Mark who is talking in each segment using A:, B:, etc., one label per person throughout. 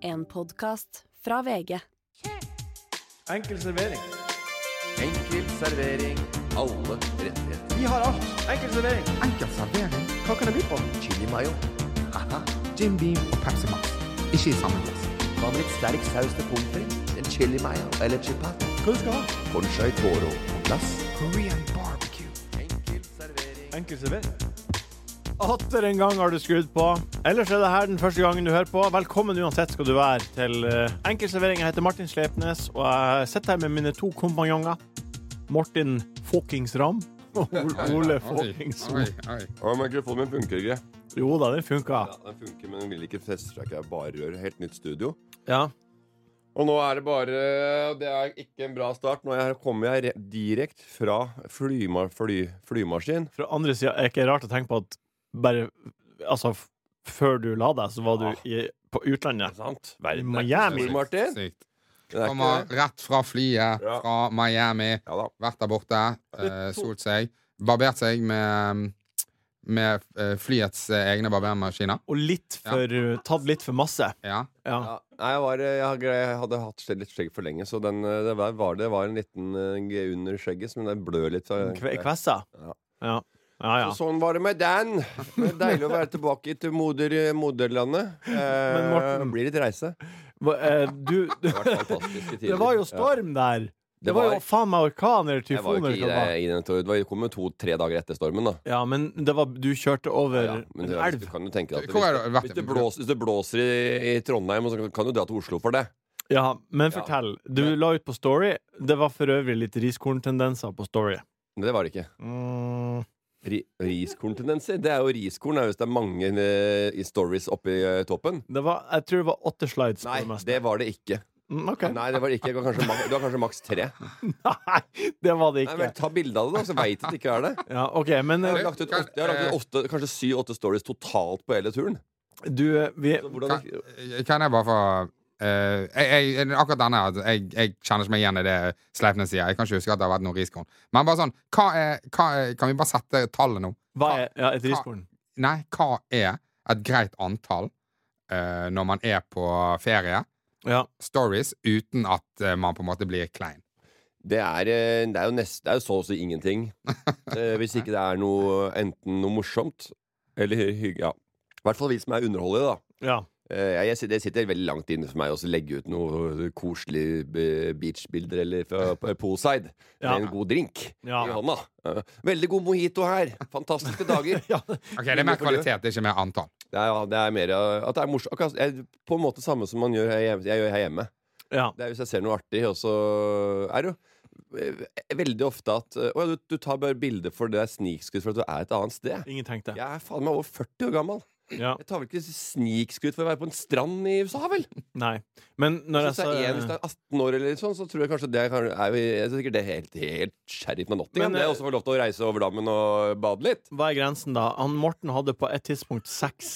A: En podkast fra VG.
B: Enkel servering.
C: Enkel servering. Alle rettigheter.
B: Vi har alt. Enkel servering.
D: Enkel servering.
B: Hva kan det by på?
C: Chili mayo. Haha.
D: Jim Beam og Pepsi Max. Ikke i samme glass.
C: Hva med litt sterk saus til pommes frites? En chili mayo eller chipat?
B: Hva du skal ha?
C: Conchai toro på glass.
D: Korean barbecue.
C: Enkel servering.
B: Enkel servering. Atter en gang har du skrudd på. Ellers er det her den første gangen du hører på. Velkommen uansett skal du være til eh, Enkel servering. Jeg heter Martin Slepnes, og jeg sitter her med mine to kompanjonger. Martin Fåkings Ram og Ole- Ole Fåkings
D: Oi,
B: Sol.
D: oi.
E: Ja, Mikrofonen min funker ikke.
B: Jo da, den funka.
E: Ja, den funker, men den vil ikke feste seg. Jeg bare rør helt nytt studio.
B: Ja.
E: Og nå er det bare Det er ikke en bra start. Nå er jeg- kommer jeg re- direkte fra flyma, fly, flymaskin.
B: Fra andre sida er det ikke rart å tenke på at bare Altså, f- før du la deg, så var du i, på utlandet.
E: Sant?
B: I
E: Verden er ikke
B: Miami.
E: stor, Martin.
D: Sykt.
E: Den er
D: Kommer
E: ikke det.
D: rett fra flyet
E: Ja.
D: fra Miami.
E: Ja da.
D: Vært der borte, eh, solt seg. Barbert seg med, med eh, flyets eh, egne barbermaskiner.
B: Og litt for eh, Tatt litt for masse.
D: Ja.
B: Ja.
E: Ja. Nei, jeg, var, eh, jeg hadde- jeg hadde hatt skjegg- litt skjegg for lenge, så den, eh, det, var, var, det var en liten eh, G under skjegget, men den blør litt. Så,
B: Kve, kvessa?
E: Ja.
B: Ja. ja, ja.
E: så sånn var det med den. Det er Deilig å være tilbake til moder, moderlandet. Eh,
B: Morten-
E: blir litt reise.
B: Hva, eh, Du, du
E: Det har vært fantastiske tider.
B: Det var jo
E: Ja.
B: storm der! Det
E: Det
B: var jo
E: var-
B: faen meg orkaner,
E: Jeg var jo
B: tyfoner
E: ikke i
B: hva det var.
E: det, i den tor- det var- kom jo to-tre dager etter stormen, da.
B: Ja, men det var, du kjørte over
E: Ja, men
B: en
E: det, er- du
B: elv.
E: kan jo tenke deg at
D: Hvor er det-
E: hvis, hvis, det blåser, hvis det blåser i, i Trondheim, så kan- kan du dra til Oslo for det.
B: Ja, men
E: Ja.
B: fortell. Du la ut på Story. Det var for øvrig litt riskorntendenser på Story.
E: Men det var det ikke.
B: Mm.
E: Ri, riskorntendenser? Det er jo riskorn da, hvis det er mange eh, i stories oppe i eh, toppen.
B: Det var, jeg tror det var åtte slides. på
E: Nei,
B: det meste.
E: det var det ikke.
B: Mm, ok.
E: Nei, det var det ikke. Det var kanskje, mak- det var kanskje maks tre.
B: Nei, det var det
E: Nei,
B: ikke.
E: men Ta bilde av det, da, så veit du at det ikke er det.
B: Ja, ok, men
E: Jeg
B: eh,
E: har lagt ut, åtte, jeg har lagt ut åtte, kanskje syv-åtte stories totalt på hele turen.
B: du eh, vi,
E: Så hvordan
D: Kan, kan jeg bare få eh, jeg, jeg, Akkurat denne altså, jeg, jeg kjenner ikke meg igjen i det Sleipnes sier. Jeg kan ikke huske at det har vært noe riskorn. Men bare sånn, hva er, hva er, kan vi bare sette tallet nå?
B: Hva er ja, et riskorn?
D: Nei, hva er et greit antall eh, når man er på ferie?
B: Ja.
D: Stories uten at eh, man på en måte blir klein.
E: Det er, eh, det er jo nest, det er jo så å si ingenting. Eh, hvis ikke det er noe enten noe morsomt eller hygge. Ja. I hvert fall vi som er underholdige, da.
B: ja.
E: Eh, jeg, sit- det sitter veldig langt inne for meg å så legge ut noe koselig eh, beachbilder eller fra på eh, poolside
B: Ja.
E: med en god drink
B: Ja.
E: i hånda. Eh, veldig god mojito her. Fantastiske dager.
B: ja.
D: Ok, Det er mer kvalitet, det er ikke mer antall.
E: Det er, ja, det er mer eh, at det er morsomt. Akkurat eh, På en måte samme som man gjør her, hjemme- jeg gjør her hjemme.
B: ja.
E: Det er hvis jeg ser noe artig, og så er det jo eh, veldig ofte at eh, Å ja, du, du tar bare bilde for det er snikskudd for at du er et annet sted.
B: Ingen tenkte.
E: Jeg er faen meg over 40 år gammel.
B: Ja.
E: Jeg tar vel ikke snikskudd for å være på en strand i USA, vel?
B: Nei. Men når altså, jeg
E: Hvis
B: sa
E: det er en, hvis det
B: eh,
E: er 18 år eller litt sånn, så tror jeg kanskje det er, er, jo- jeg synes sikkert det er helt, helt sheriff med Nottingham.
B: Men,
E: Men, jeg
B: eh,
E: også får lov til å reise over dammen og bade litt.
B: Hva er grensen, da? Han Morten hadde på et tidspunkt seks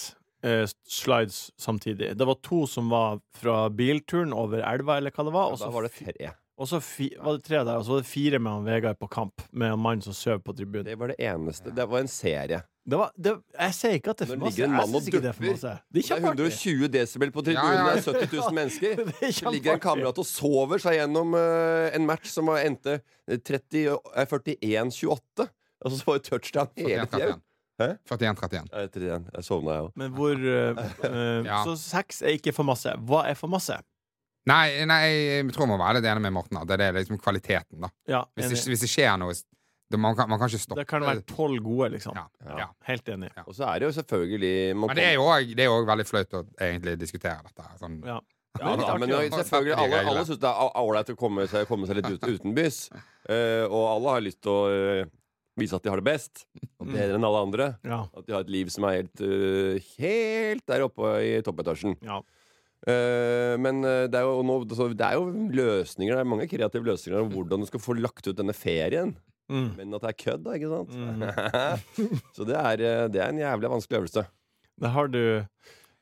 B: eh, slides samtidig. Det var to som var fra bilturen over elva, eller hva det var. Og så
E: da var det
B: fi-
E: tre.
B: og så fi, var det tre der, og så var det fire med han Vegard på kamp, med han mannen som søv på tribunen.
E: Det var det eneste. Det var en serie.
B: Det var, det, jeg sier ikke at det er
E: Når
B: for
E: det
B: masse.
E: ligger en
B: Jeg
E: mann og
B: synes ikke det er for
E: dupper,
B: masse. Det er
E: Det er
B: kjempeartig.
E: 120 desibel på tribunen,
D: Ja, ja.
E: det er 70 000 mennesker.
B: Det er
E: Så ligger en
B: kjempeartig.
E: kamerat og sover seg gjennom eh, en match som var- endte eh, 30 og- eh, 41-28. Altså så var det touchdown hele tida.
D: 41-31.
E: Hæ?
D: 41-31.
E: Jeg, jeg sovna, jeg òg.
B: Men hvor eh, eh,
D: Ja.
B: Så seks er ikke for masse. Hva er for masse?
D: Nei, nei, jeg tror man må være litt enig med Morten. at Det er liksom kvaliteten, da.
B: Ja,
D: Hvis det,
B: enig.
D: hvis det skjer noe det, man, kan, man kan ikke stoppe
B: Det kan være tolv gode, liksom.
D: ja, ja.
B: Helt enig.
E: Og så er det jo selvfølgelig man
D: Men det er jo òg- det er jo òg veldig flaut å egentlig diskutere dette. Sånn.
B: Ja.
E: kommer- ja, da,
B: Litt
E: men jo,
B: artig,
D: ja.
E: selvfølgelig alle, alle syns det er au- ålreit å komme seg, komme seg litt ut, utenbys. Eh, og alle har lyst til å eh, vise at de har det best.
B: Mm.
E: Og bedre enn alle andre.
B: Ja.
E: At de har et liv som er helt, eh, helt der oppe i toppetasjen.
B: ja.
E: Eh, men eh, det er, jo nå, så det er jo løsninger Det er mange kreative løsninger om hvordan du skal få lagt ut denne ferien.
B: Mm.
E: Men at det er kødd, da, ikke sant?
B: Mm.
E: så det er, eh, det er en jævlig vanskelig øvelse.
B: Det har du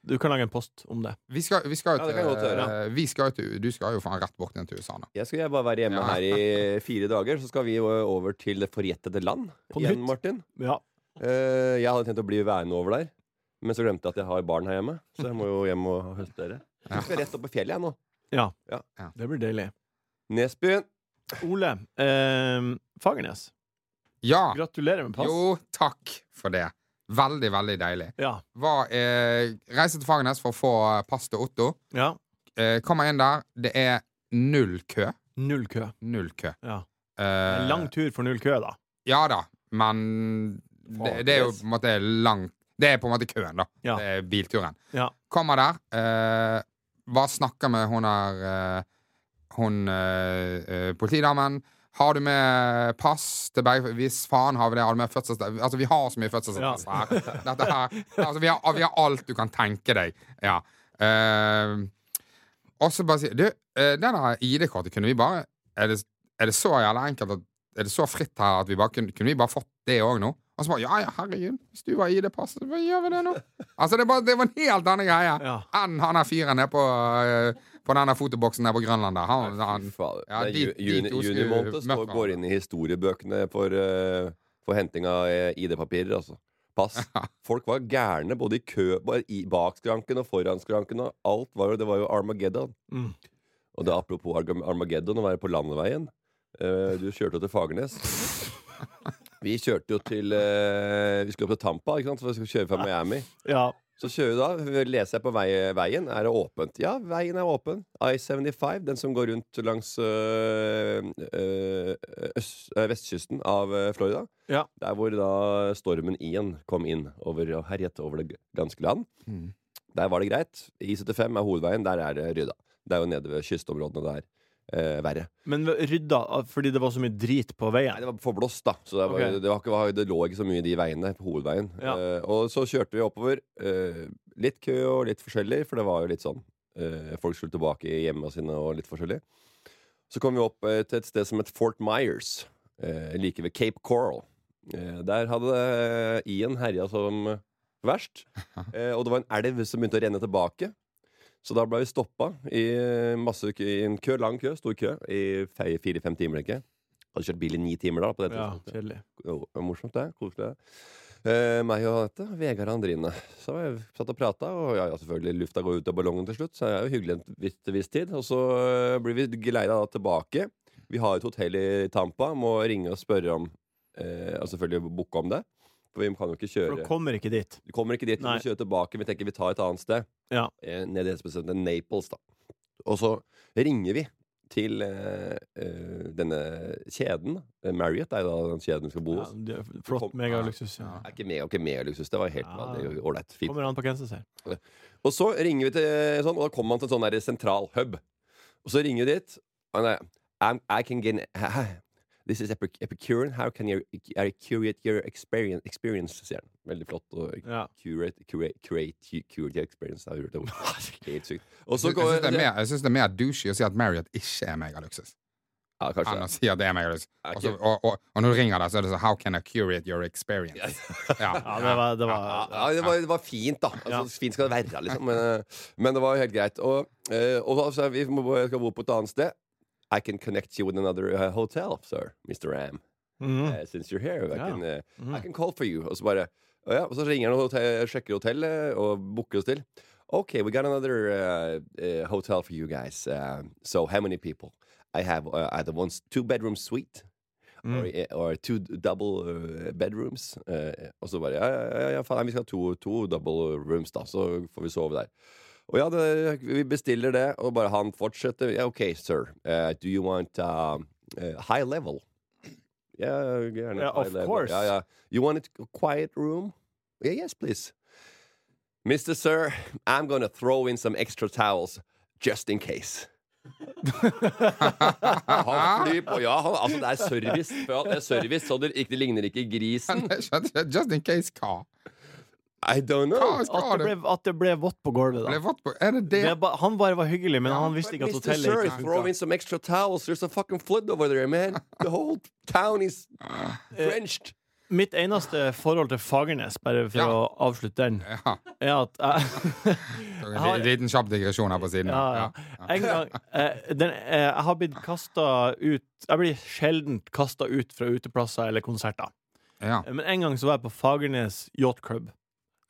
B: Du kan lage en post om det.
D: Vi skal, vi
E: Ja,
D: skal jo
E: det
D: til,
E: kan jeg godt gjøre.
D: eh, vi skal jo til Du skal jo faen rett bort igjen til USA nå.
E: Jeg skal bare være hjemme
D: Ja.
E: her i fire dager, så skal vi jo over til Det forjettede land.
B: På
E: igjen,
B: nytt?
E: Martin.
B: Ja.
E: Eh, jeg hadde tenkt å bli værende over der. Men så glemte jeg at jeg har barn her hjemme, så jeg må jo hjem og høstere. Jeg skal rett opp på fjellet jeg nå.
B: Ja.
E: Ja.
B: Det blir deilig.
E: Nesbyen.
B: Ole eh, Fagernes,
D: Ja.
B: gratulerer med pass.
D: Ah. Jo, takk for det. Veldig, veldig deilig.
B: Ja.
D: Var, eh, reiste til Fagernes for å få eh, pass til Otto.
B: ja.
D: Eh, kommer inn der. Det er null kø.
B: Null kø.
D: Null kø.
B: Ja.
D: Eh,
B: En lang tur for null kø, da.
D: Ja da, men det, det er jo på en måte langt Det er på en måte køen, da.
B: Ja.
D: Det er bilturen.
B: Ja.
D: Kommer der, eh, bare snakker med hun der eh, Hun eh, eh, politidamen. Har du med pass til begge Hvis faen har vi det, har du med fødselsattest Altså, vi har så mye fødselsattest
B: Ja.
D: her. Dette her. Altså, vi har, vi har alt du kan tenke deg. Ja. Eh, og så bare si Du, eh, det der ID-kortet kunne vi bare Er det, er det så jævla enkelt at Er det så fritt her at vi bare kunne, kunne vi bare fått det òg nå? Og så bare Ja, ja, herregud. Hvis du har ID-passet, hva gjør vi det nå? Altså, det, er bare, det var en helt annen greie
B: Ja.
D: enn han der fyren nede på, eh, på den der fotoboksen der på Grønland der. Han, han,
E: Fy fader.
D: ja,
E: Det er ju-
D: dit- dit
E: juni-
D: hun skulle
E: Junimåned står-
D: møtt
E: går inn i historiebøkene for, eh, for henting av eh, ID-papirer, altså. Pass. Folk var gærne både i kø, bare i bak skranken og foran skranken. Og alt var jo, det var jo Armageddon.
B: Mm.
E: Og det er apropos Arg- Armageddon å være på landeveien. Eh, du kjørte jo til Fagernes. Vi kjørte jo til eh, Vi skulle opp til Tampa, ikke sant? for vi skulle kjøre fra Miami.
B: Ja.
E: Så kjører vi da, leser jeg på vei, veien, er det åpent? Ja, veien er åpen. I-75, den som går rundt langs øh, øh, øst, øh, vestkysten av øh, Florida.
B: Ja.
E: Der hvor da stormen Ian kom inn over, og herjet over det ganske land.
D: Mm.
E: Der var det greit. I-75 er hovedveien, der er det rydda. Det er jo nede ved kystområdene der. Eh, verre.
B: Men rydda av- fordi det var så mye drit på
E: Nei,
B: veien.
E: det var forblåst, da. Så det, var,
B: Ok.
E: det, var ikke, det lå ikke så mye i de veiene. på Hovedveien.
B: Ja.
E: Eh, og så kjørte vi oppover. eh, litt kø og litt forskjellig, for det var jo litt sånn. eh, folk skulle tilbake i hjemmene sine og litt forskjellig. Så kom vi opp eh, til et sted som het Fort Myers, eh, like ved Cape Coral. Eh, der hadde eh, Ian herja som eh, verst, eh, og det var en elv som begynte å renne tilbake. Så da ble vi stoppa i, eh, masse, kø- i en kø, lang kø, stor kø, i fe- fire-fem timer. tenker jeg. Hadde kjørt bil i ni timer da. på det
B: Ja,
E: tidspunktet.
B: kjedelig.
E: Jo, det var morsomt det, koselig det. Eh, meg og Anette, Vegard og Andrine. Så var jeg satt og prata, og ja, ja, selvfølgelig, lufta går ut av ballongen til slutt, så det er jo hyggelig en viss, viss tid. Og så eh, blir vi geleida da tilbake. Vi har et hotell i Tampa, må ringe og spørre om eh, Og selvfølgelig booke om det. For vi kan jo ikke
B: For
E: kjøre
B: du kommer ikke dit.
E: Vi kommer ikke dit, vi
B: Nei.
E: må kjøre tilbake. Vi tenker vi tar et annet sted.
B: Ja.
E: Eh, ned i det som heter Naples, da. Og så ringer vi til eh, eh, denne kjeden. Eh, Marriott er jo da den kjeden vi skal bo
B: Ja,
E: hos.
B: det er flott
E: Kom-
B: megaluksus. Ja.
E: Det er ikke meg og ikke meg luksus. Det var helt
B: Ja.
E: vanlig, ålreit. Fint.
B: Kommer an på hvem som ser.
E: Og så ringer vi til sånn, og da kommer han til en sånn der sentral hub. Og så ringer vi dit. Og han er I'm, I can gain This is epic, Epicurean. How can you I curate your experience, experience? sier han. Veldig flott. Og
B: Ja.
E: curate, curate, curate, curate your experience. Jeg har hørt det ordet. Helt sykt. Og
D: Jeg
E: så
D: syns det er
E: går
D: mer- jeg syns det er mer douchey å si at Marriott ikke er megaluksus,
E: Ja,
D: enn å
E: kanskje.
D: si at det er megaluksus.
E: Er
D: Og, så-
E: ikke-
D: og, og, og når du ringer der, så er det sånn How can I curate your experience? Ja,
B: Ja, det var, det var
E: Ja, ja, det, var, det var fint, da. Altså,
B: Ja.
E: Fint skal det være, liksom. Men, eh, men det var helt greit. Og, eh, og da sa jeg, vi må, jeg skal bo på et annet sted. I can connect you with another eh, hotel, sir, Mr. Am.
B: Mhm.
E: Eh, since you're here, I,
B: Ja. Mm.
E: can, eh, I can call for you. Og så bare «Å ja, og så ringer han og hotell, sjekker hotellet eh, og booker oss til. Ok, we got another eh, eh, hotel for you guys. Eh, so how many people? I have eh, either one two bedroom suite
B: Mm.
E: or, eh, or two double eh, bedrooms. Eh, og så bare ja, ja, ja, ja, faen, nei, vi skal ha to, to double rooms, da, så får vi sove der. Og ja, det, vi bestiller det, og bare han fortsetter. Ja, ok, sir. Eh, do you want um, eh, high level? Ja, gjerne.
B: Ja,
E: high
B: of
E: level.
B: course.
E: Ja, ja. You want a quiet room? Yeah, yes, please. Mr. Sir, I'm gonna throw in some extra towels just in case. han flyr på, ja. Han, altså, det er service. For alt er service så det, ikke, det ligner ikke grisen.
D: Just in case hva?
E: I don't
D: Hva
E: know.
B: At
D: skal
B: det
D: det
B: ble, at det ble vått på gulvet,
D: ble
B: da.
D: vått på? Er det det?
B: Det er ba, han bare var hyggelig, men han visste ikke at
E: Mr.
B: hotellet
E: Sir,
B: ikke
E: throw in some extra towels. There's a fucking flood over there, man. The whole town is drenched.
B: Mitt eneste forhold til Fagernes, bare for
D: Ja.
B: å avslutte den,
D: Ja.
B: er at jeg,
D: En
B: Jeg har-
D: li- liten kjapp digresjon her på siden.
B: ja, ja. En gang, eh, den, eh, jeg har blitt kasta ut Jeg blir sjelden kasta ut fra uteplasser eller konserter.
D: Ja.
B: Men en gang så var jeg på Fagernes Yacht Club.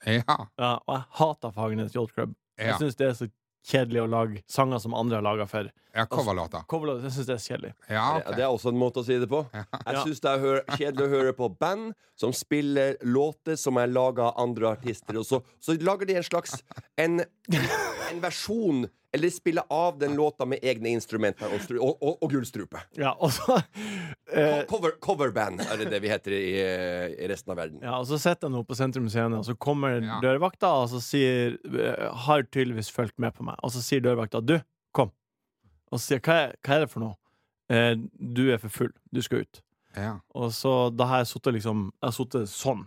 D: Ja.
B: Ja, og jeg hater Fagernes Yacht Club.
D: ja.
B: Jeg syns det er så kjedelig å lage sanger som andre har laga for.
D: ja Coverlåter.
B: Coverlåter, jeg synes det er så kjedelig.
D: Ja,
E: Ja, Det
D: ok.
E: er også en måte å si det på. Jeg
B: Ja.
E: syns det er hø- kjedelig å høre på band som spiller låter som er laga av andre artister, og så, så lager de en slags en, en versjon eller spiller av den låta med egne instrumenter og, stru- og, og, og gullstrupe.
B: Ja, og så eh,
E: Co- Cover, coverband er det det vi heter i, eh, i resten av verden.
B: ja, og så sitter jeg nå på Sentrum Scene, og så kommer
D: Ja.
B: dørvakta og så sier eh, Har tydeligvis fulgt med på meg. Og så sier dørvakta 'du, kom'. Og så sier jeg 'hva er, hva er det for noe?' Eh, 'Du er for full. Du skal ut'.
D: Ja.
B: Og så da har jeg sittet liksom Jeg har sittet sånn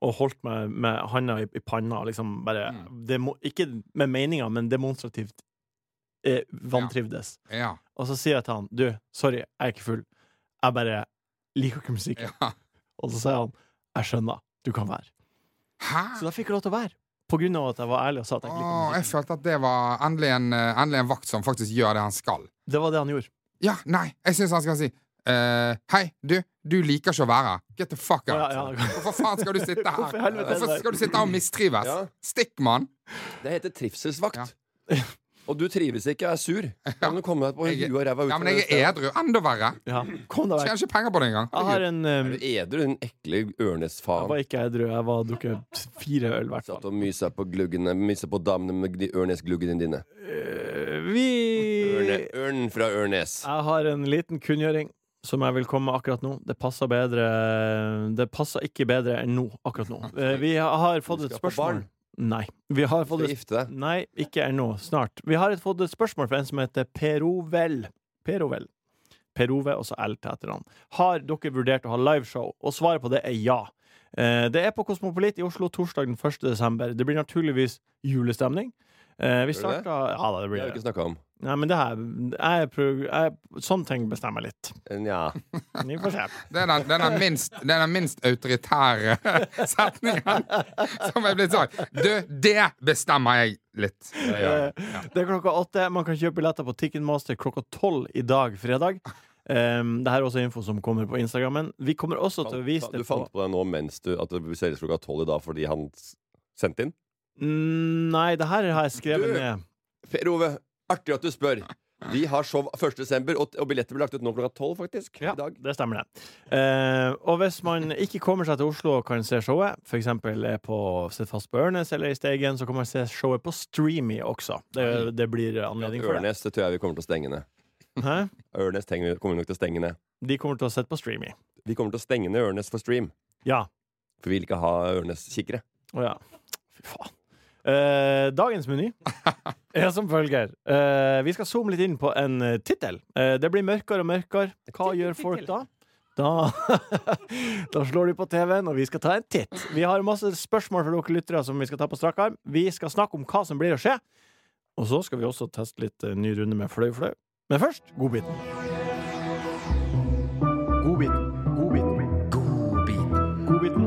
B: og holdt meg med handa i, i panna og liksom bare
D: Mm.
B: demo, Ikke med meninga, men demonstrativt eh, vantrivdes.
D: Ja.
B: Og så sier jeg til han Du, sorry, jeg er ikke full. Jeg bare liker ikke musikken.
D: ja.
B: Og så sier han Jeg skjønner. Du kan være.
D: Hæ?
B: Så da fikk jeg lov til å være. På grunn av at jeg var ærlig og sa at jeg ikke
D: Åh,
B: liker
D: jeg
B: musikken.
D: følte at det var endelig en, eh, endelig en vakt som faktisk gjør det han skal.
B: Det var det han gjorde.
D: Ja, nei, jeg syns han skal si eh, Hei, du, du liker ikke å være her. Get the fuck out.
B: Ja, ja.
D: Hvorfor faen skal du sitte her?
B: Hvorfor i helvete er det
D: Hvorfor
B: der?
D: skal du sitte her og mistrives?
E: Ja.
D: Stikk, mann!
E: Det heter trivselsvakt.
D: Ja.
E: Og du trives ikke og er sur. Kan du komme deg på
D: Jeg-
E: huet og ræva ut?
D: Ja, men jeg er edru. Enda verre.
B: Ja. Kom deg vekk.
D: Tjener ikke penger på det engang.
B: Jeg har en eh,
E: Er du edru, den ekle
B: Jeg
E: ørnesfaen?
B: var ikke edru. Jeg var drukket fire øl, i hvert fall.
E: Satt og mysa på gluggene Mysa på damene med de ørnesgluggene dine.
B: Eh, Vi
E: Ørne, ørnen fra Ørnes.
B: Jeg har en liten kunngjøring som jeg vil komme med akkurat nå. Det passer bedre Det passer ikke bedre enn nå, akkurat nå. Eh, Vi har fått
E: Du
B: et
E: skal få
B: spørsmål.
E: barn.
B: Nei. Vi har
E: Skal
B: fått
E: du
B: et
E: gifte deg?
B: Nei, ikke ennå. Snart. Vi har et, fått et spørsmål fra en som heter Perovel. Perovel. Perove, og så L til etternavn. Har dere vurdert å ha liveshow? Og svaret på det er ja. Eh, Det er på Kosmopolit i Oslo torsdag den 1. desember. Det blir naturligvis julestemning. Eh, Vi
E: det?
B: starta Ja da, det
E: Det
B: blir
E: har
B: det.
E: vi ikke snakka om.
B: Nei, men det her jeg, prøv- jeg, Sånne ting bestemmer jeg litt.
E: Nja.
B: Vi får se.
D: Det er den, det er den, minst, det er den minst autoritære setningen som er blitt sagt. Du, det bestemmer jeg litt.
B: Eh, Det er klokka åtte. Man kan kjøpe billetter på Ticketmaster klokka tolv i dag, fredag. Um, det her er også info som kommer på Instagrammen. Vi kommer også til å vise
E: Du
B: det på
E: fant på deg nå mens du at det selges klokka tolv i dag fordi han s- sendte inn?
B: Mm, Nei, det her har jeg skrevet
E: Du-
B: ned.
E: Per Ove, artig at du spør. Vi har show 1. desember, og, og billetter blir lagt ut nå klokka tolv, faktisk.
B: Ja,
E: I dag.
B: det stemmer det. Eh, og hvis man ikke kommer seg til Oslo og kan se showet, f.eks. er på Sitt fast på Ørnes eller i Steigen, så kan man se showet på Streamy også. Det, det blir anledning for det.
E: Ørnes det tror jeg vi kommer til å stenge ned.
B: Hæ?
E: Ørnes tenker vi- kommer vi nok til å stenge ned.
B: De kommer til å sitte på Streamy.
E: Vi kommer til å stenge ned Ørnes for stream.
B: Ja.
E: For vi vil ikke ha Ørnes-kikkere.
B: Å ja. Fy faen. Eh, dagens meny er som følger. Eh, vi skal zoome litt inn på en eh, tittel. Eh, det blir mørkere og mørkere. Hva gjør folk da? Da, da slår de på TV-en, og vi skal ta en titt. Vi har masse spørsmål fra dere lyttere som vi skal ta på strak arm. Vi skal snakke om hva som blir å skje. Og så skal vi også teste litt eh, ny runde med Fløy Fløy. Men først godbiten. Godbiten. Godbiten. Godbiten.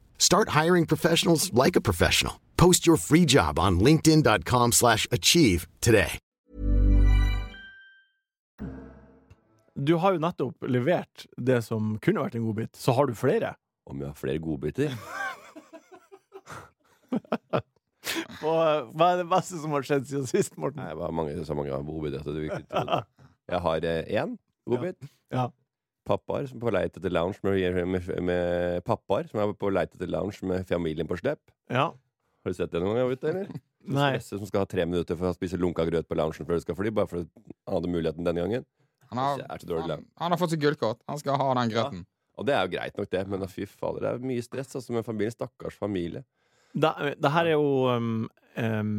F: Start hiring professionals like a professional. Post your free job on linkedin.com/achieve slash achieve today.
B: Du har jo nettopp levert det som kunne vært en godbit. Så har du flere.
E: Om vi har flere godbiter?
B: Og eh, hva er det beste som har skjedd siden sist, Morten?
E: Nei, det var mange, så mange godbiter at du ikke trodde. Jeg har én godbit.
B: Ja.
E: eh, pappaer som er på leit etter lounge med, med, med pappaer som er på leit etter lounge med familien på slep.
B: Ja.
E: Har du sett det noen gang ute, eller?
B: Nei.
E: Stresse som skal ha tre minutter for å spise lunka grøt på loungen før du skal fly, bare for at han hadde muligheten denne gangen.
D: Han har,
E: Kjært dårlig
D: han,
E: lønn.
D: han har fått seg gullkort. Han skal ha den grøten.
E: Og det er jo greit nok, det, men da, fy fader, det er mye stress altså, med familien. Stakkars familie.
B: Det, det her er jo um, um,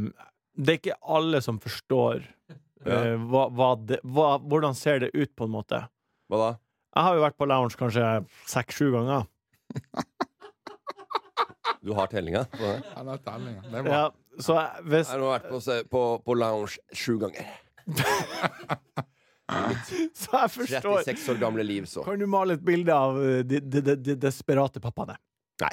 B: Det er ikke alle som forstår eh, hva, hva det, hva, hvordan ser det ut, på en måte.
E: Hva da?
B: Jeg har jo vært på lounge kanskje seks-sju ganger.
E: Du har tellinga? på det?
D: Ja, det er telling, ja. Det er bra.
B: Ja, så jeg- hvis
E: Jeg har nå vært på, se- på, på lounge sju ganger.
B: Så jeg forstår
E: 36 år gamle liv, så.
B: Kan du male et bilde av eh, de, de, de, de desperate pappaene?
E: Nei.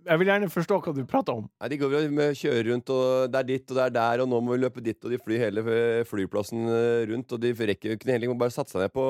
B: Jeg vil gjerne forstå hva du prater om.
E: Nei, De går og kjører rundt, og det er dit og det er der, og nå må vi løpe dit, og de flyr hele eh, flyplassen eh, rundt, og de rekker jo ikke heller, må bare satse seg ned på,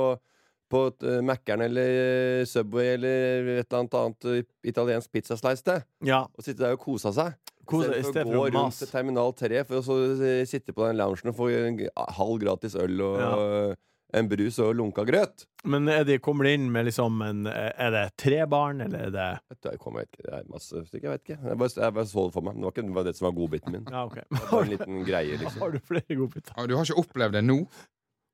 E: på et, eh, Mac'eren eller eh, Subway eller et eller annet annet eh, italiensk pizzaslice sted,
B: Ja,
E: og sitte der og kose seg.
B: Kose deg i stedet for å
E: gå rundt
B: mase.
E: til terminal 3 for å så eh, sitte på den loungen og få en g- halv gratis øl og eh, en brus og lunka grøt.
B: Men er de, kommer de inn med liksom en Er det tre barn, eller er det
E: Vet du, jeg kommer ikke, det er masse stykker, jeg vet ikke. Jeg bare, jeg bare så det for meg. men Det var ikke det, var det som var godbiten min.
B: Ja, OK.
E: Det var en liten greie, liksom.
B: Har du flere godbiter?
D: Og Du har ikke opplevd det nå?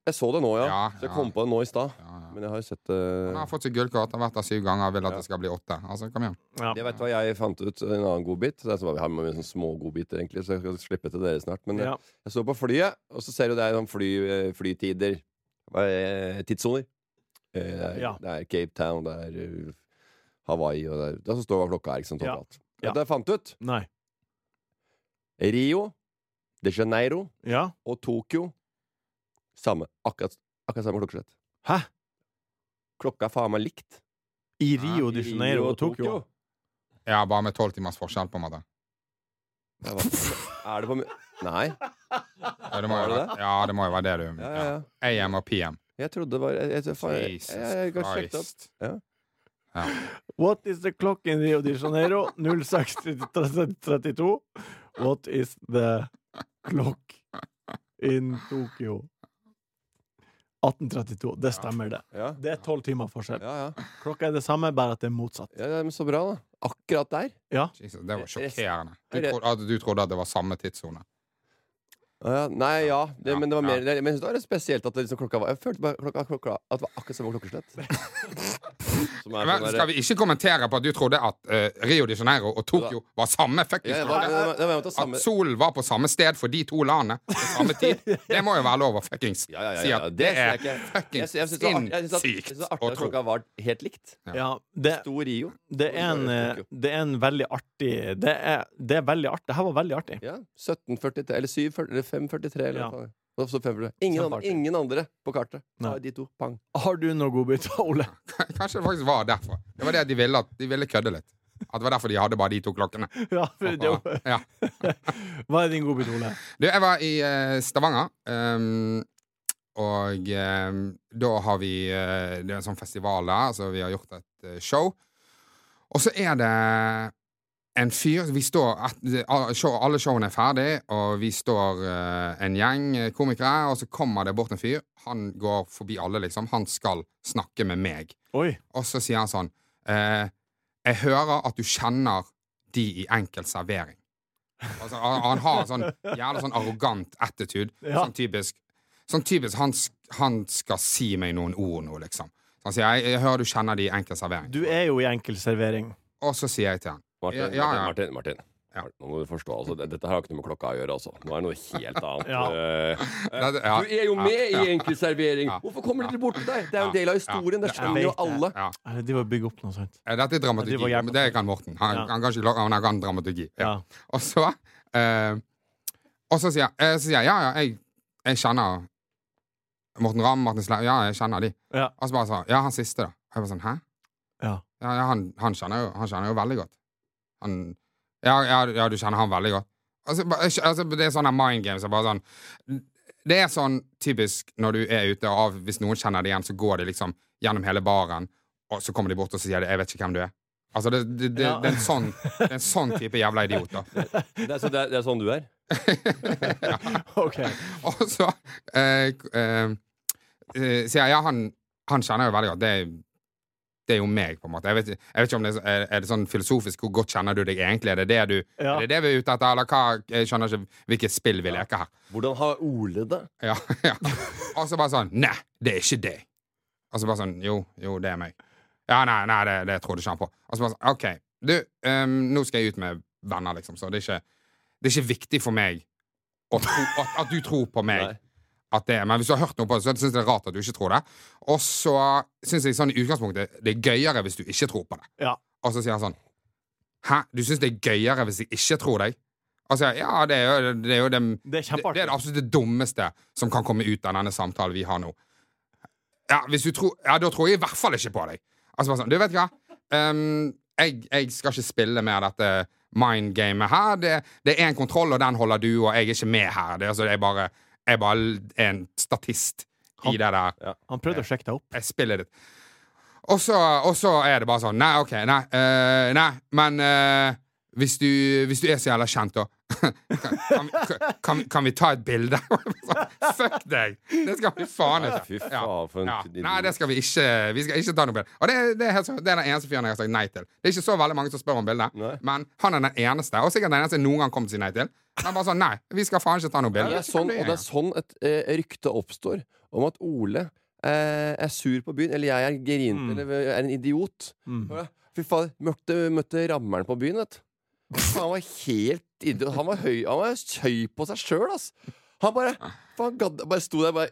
E: Jeg så det nå, ja.
D: Ja,
E: Så jeg
D: ja.
E: kom på det nå i stad.
D: Ja, ja.
E: Men jeg har jo sett eh, det
D: Han har fått seg gullkort, har vært der syv ganger og vil at det skal bli åtte. Altså, kom igjen.
B: Ja.
E: Jeg vet hva jeg fant ut. En annen godbit. Det er så, vi har med sånne små godbiter, egentlig, så jeg skal slippe til dere snart. Men
B: Ja.
E: eh, jeg så på flyet, og så ser du det er sånn fly, eh, flytider. Eh, Tidssoner. Eh, Det, er-
B: Ja.
E: det er Cape Town, det er eh, Hawaii, og det er Det som står hva klokka er, ikke sant,
B: Ja.
E: totalt.
B: Ja.
E: Vet du hva jeg fant ut?
B: Nei.
E: Rio de Janeiro
B: Ja?
E: og Tokyo. Samme. Akkurat, akkurat samme klokkeslett.
B: Hæ?
E: Klokka er faen meg likt.
B: I Rio de Janeiro og Tokyo?
D: Ja, bare med tolv timers forskjell, på en måte.
E: Ja, hva- Er det på mi- Nei.
D: Ja, det må
E: Var
D: jo
E: det
D: være, ja, det, må jo være det du
E: Ja, ja, ja.
D: ja. AM og PM.
E: Jeg trodde det var Jeg, jeg, jeg, jeg, jeg,
D: Jesus
E: jeg, har sjekket opp.
D: Christ.
E: Ja.
D: Ja.
B: What is the clock in Rio de Janeiro? 0632. What is the clock in Tokyo? 1832. Det stemmer, det.
E: Ja.
B: Det er tolv timer forskjell.
E: Ja, ja.
B: Klokka er det samme, bare at det er motsatt.
E: ja, ja men så bra, da. Akkurat der.
D: Jesus, det var
E: Resten-
D: sjokkerende. Du
E: Re-
D: trodde, at du trodde at det var samme tidssone.
E: Ja, ja. Nei, ja. Det,
D: Ja,
E: men det var
D: ja.
E: mer det, Men jeg synes det var litt spesielt at det liksom klokka var Jeg følte bare klokka, klokka at det var akkurat samme klokkeslett. Som er
D: Men
E: sånn
D: skal
E: der-
D: vi ikke kommentere på at du trodde at eh, Rio de Janeiro og Tokyo var samme
E: ja,
D: fuckings
E: det var, det
D: land?
E: var, det var, det var
D: At
E: samme
D: solen var på samme sted for de to landene på samme tid? Det må jo være lov å fuckings
E: ja, ja, ja,
D: si
E: ja. Det
D: at det
E: ser jeg
D: er
E: ikke. Jeg
D: fuckings
E: synes- jeg synes det var artig- jeg synes at- jeg synes
D: sinnssykt
E: det var artig
D: å
E: at
D: tro.
E: klokka var helt likt.
B: Ja, det,
E: Sto Rio.
B: det, er en, eh, det er en veldig artig Det er, det er veldig artig. Det her var veldig artig.
E: Ja. 1743 eller 743 eller 543 eller
B: Ja.
E: hva faen. Det var 543. Ingen, andre,
B: Kjempeartig.
E: ingen andre på kartet.
B: Nei.
E: Bare de to. Pang.
B: Har du noen godbiter, Ole?
D: Kanskje det faktisk var derfor. Det var det at de ville, at de ville kødde litt. At det var derfor de hadde bare de to klokkene.
B: Ja, for det,
D: Ja.
B: hva er din godbit, Ole?
D: Du, jeg var i eh, Stavanger, ehm, og ehm, da har vi eh, Det er en sånn festival der, så vi har gjort et eh, show. Og så er det en fyr Vi står et- alle show- Alle showene er ferdig, og vi står eh, en gjeng eh, komikere, og så kommer det bort en fyr. Han går forbi alle, liksom. Han skal snakke med meg.
B: Oi.
D: Og så sier han sånn eh, Jeg hører at du kjenner de i enkel servering. Altså, han, han har en sånn jævla sånn arrogant attitude.
B: Ja.
D: Sånn typisk, sånn typisk han, sk- han skal si meg noen ord nå, liksom. Så han sier jeg, 'Jeg hører du kjenner de i enkel servering'.
B: Du er jo i enkel servering.
D: Og så sier jeg til han
E: Martin,
D: Ja, ja, ja.
E: Martin, Martin,
D: Ja.
E: Martin. Nå må du forstå, altså, det- dette her har ikke noe med klokka å gjøre, altså. Nå er det noe helt annet.
B: Ja.
E: Eh,
D: Ja, det- ja.
E: Du er jo med
D: Ja,
E: i enkeltservering!
D: Ja.
E: Hvorfor kommer dere bort til deg? Det er jo en
D: Ja.
E: del av historien. Det
D: Ja.
E: skjønner jo
B: Jeg vet det.
E: alle.
D: ja.
B: Eh, De var bygge opp noe sånt.
D: Eh, Dette er dramaturgi.
B: Ja, det var
D: men det kan Morten. Han,
B: Ja.
D: han kan ikke klare han kan dramaturgi. Ja.
B: Ja.
D: Og så eh, Og så sier jeg, eh, så sier jeg ja, ja, jeg, jeg kjenner Morten Ramm, Martin Sleip Ja, jeg kjenner de.
B: Ja.
D: Og så bare sånn Ja, han siste, da. Og jeg bare sånn Hæ?
B: Ja.
D: Ja, ja, han, han, kjenner jo, han kjenner jo veldig godt. Han Ja, ja, ja du kjenner han veldig godt. Altså, ba- jeg skj- altså, det er sånne mind games. jeg Bare sånn, det er sånn typisk når du er ute, og av, hvis noen kjenner det igjen, så går de liksom gjennom hele baren, og så kommer de bort og så sier de 'jeg vet ikke hvem du er'. Altså, det, det, det,
B: Ja.
D: det, er en sånn, det er en sånn type jævla idiot, da.
E: Det er, så, det er, det er sånn du er.
B: OK.
D: Og så eh, k- eh, eh, sier jeg ja, han han kjenner jo veldig godt. Det, er- det er jo meg, på en måte. Jeg vet, jeg vet ikke om det er, så- er- er det sånn filosofisk Hvor godt kjenner du deg egentlig? Er det det, du,
B: Ja.
D: er det det vi er ute etter? Eller hva? Jeg skjønner ikke hvilket spill vi leker her.
E: Hvordan har Ole det?
D: Ja, ja. Og så bare sånn Nei, det er ikke det. Og så bare sånn Jo, jo, det er meg. Ja, nei, nei, det, det trodde ikke han på. Og så bare sånn OK, du, ehm, nå skal jeg ut med venner, liksom, så det er ikke, det er ikke viktig for meg å tro, at, at du tror på meg.
E: Nei.
D: At det, er- men hvis du har hørt noe på det, så syns jeg det er rart at du ikke tror det. Og så syns jeg sånn i utgangspunktet det er gøyere hvis du ikke tror på det.
B: Ja.
D: Og så sier han sånn Hæ, du syns det er gøyere hvis jeg ikke tror deg? Og så sier jeg ja, det er jo det, er jo det
B: Det er
D: det, det
B: kjempeartig.
D: er det absolutt det dummeste som kan komme ut av denne samtalen vi har nå. Ja, hvis du tror, ja da tror jeg i hvert fall ikke på deg. Altså bare sånn, Du vet hva? Ehm, jeg, jeg skal ikke spille med dette mind-gamet her. Det, det er en kontroll, og den holder du, og jeg er ikke med her. Det, er altså, jeg, bare, jeg bare er en statist i det der
B: Han prøvde å sjekke deg opp.
D: jeg spiller det. Og så, og så er det bare sånn Nei, OK, nei, eh, nei men eh, hvis, du, hvis du er så jævla kjent, da kan, kan, vi- kan, kan vi ta et bilde? Sånn, Fuck deg! Det skal vi faen ikke.
E: Fy faen,
D: Ja,
E: for en
D: ja.
E: idiot.
D: Nei, det skal vi ikke. Vi skal ikke ta noe bilde. Og det, er- det, er helt, så- det er den eneste fyren jeg har sagt nei til. Det er ikke så veldig mange som spør om bilde,
E: Nei.
D: men han er den eneste. Og sikkert den eneste jeg noen gang kommer til å si nei til. Han bare sånn Nei, vi skal faen ikke ta noe
E: Ja,
D: bilde.
E: det er sånn, og det er sånn et eh, rykte oppstår om at Ole eh, er sur på byen, eller jeg er grinete, eller er en idiot. Hør da. Fy faen, møtte, møtte rammeren på byen, vet du. Han var helt idiot. Han var høy, han var høy på seg sjøl, ass. Han bare, faen, gadd, bare sto der bare,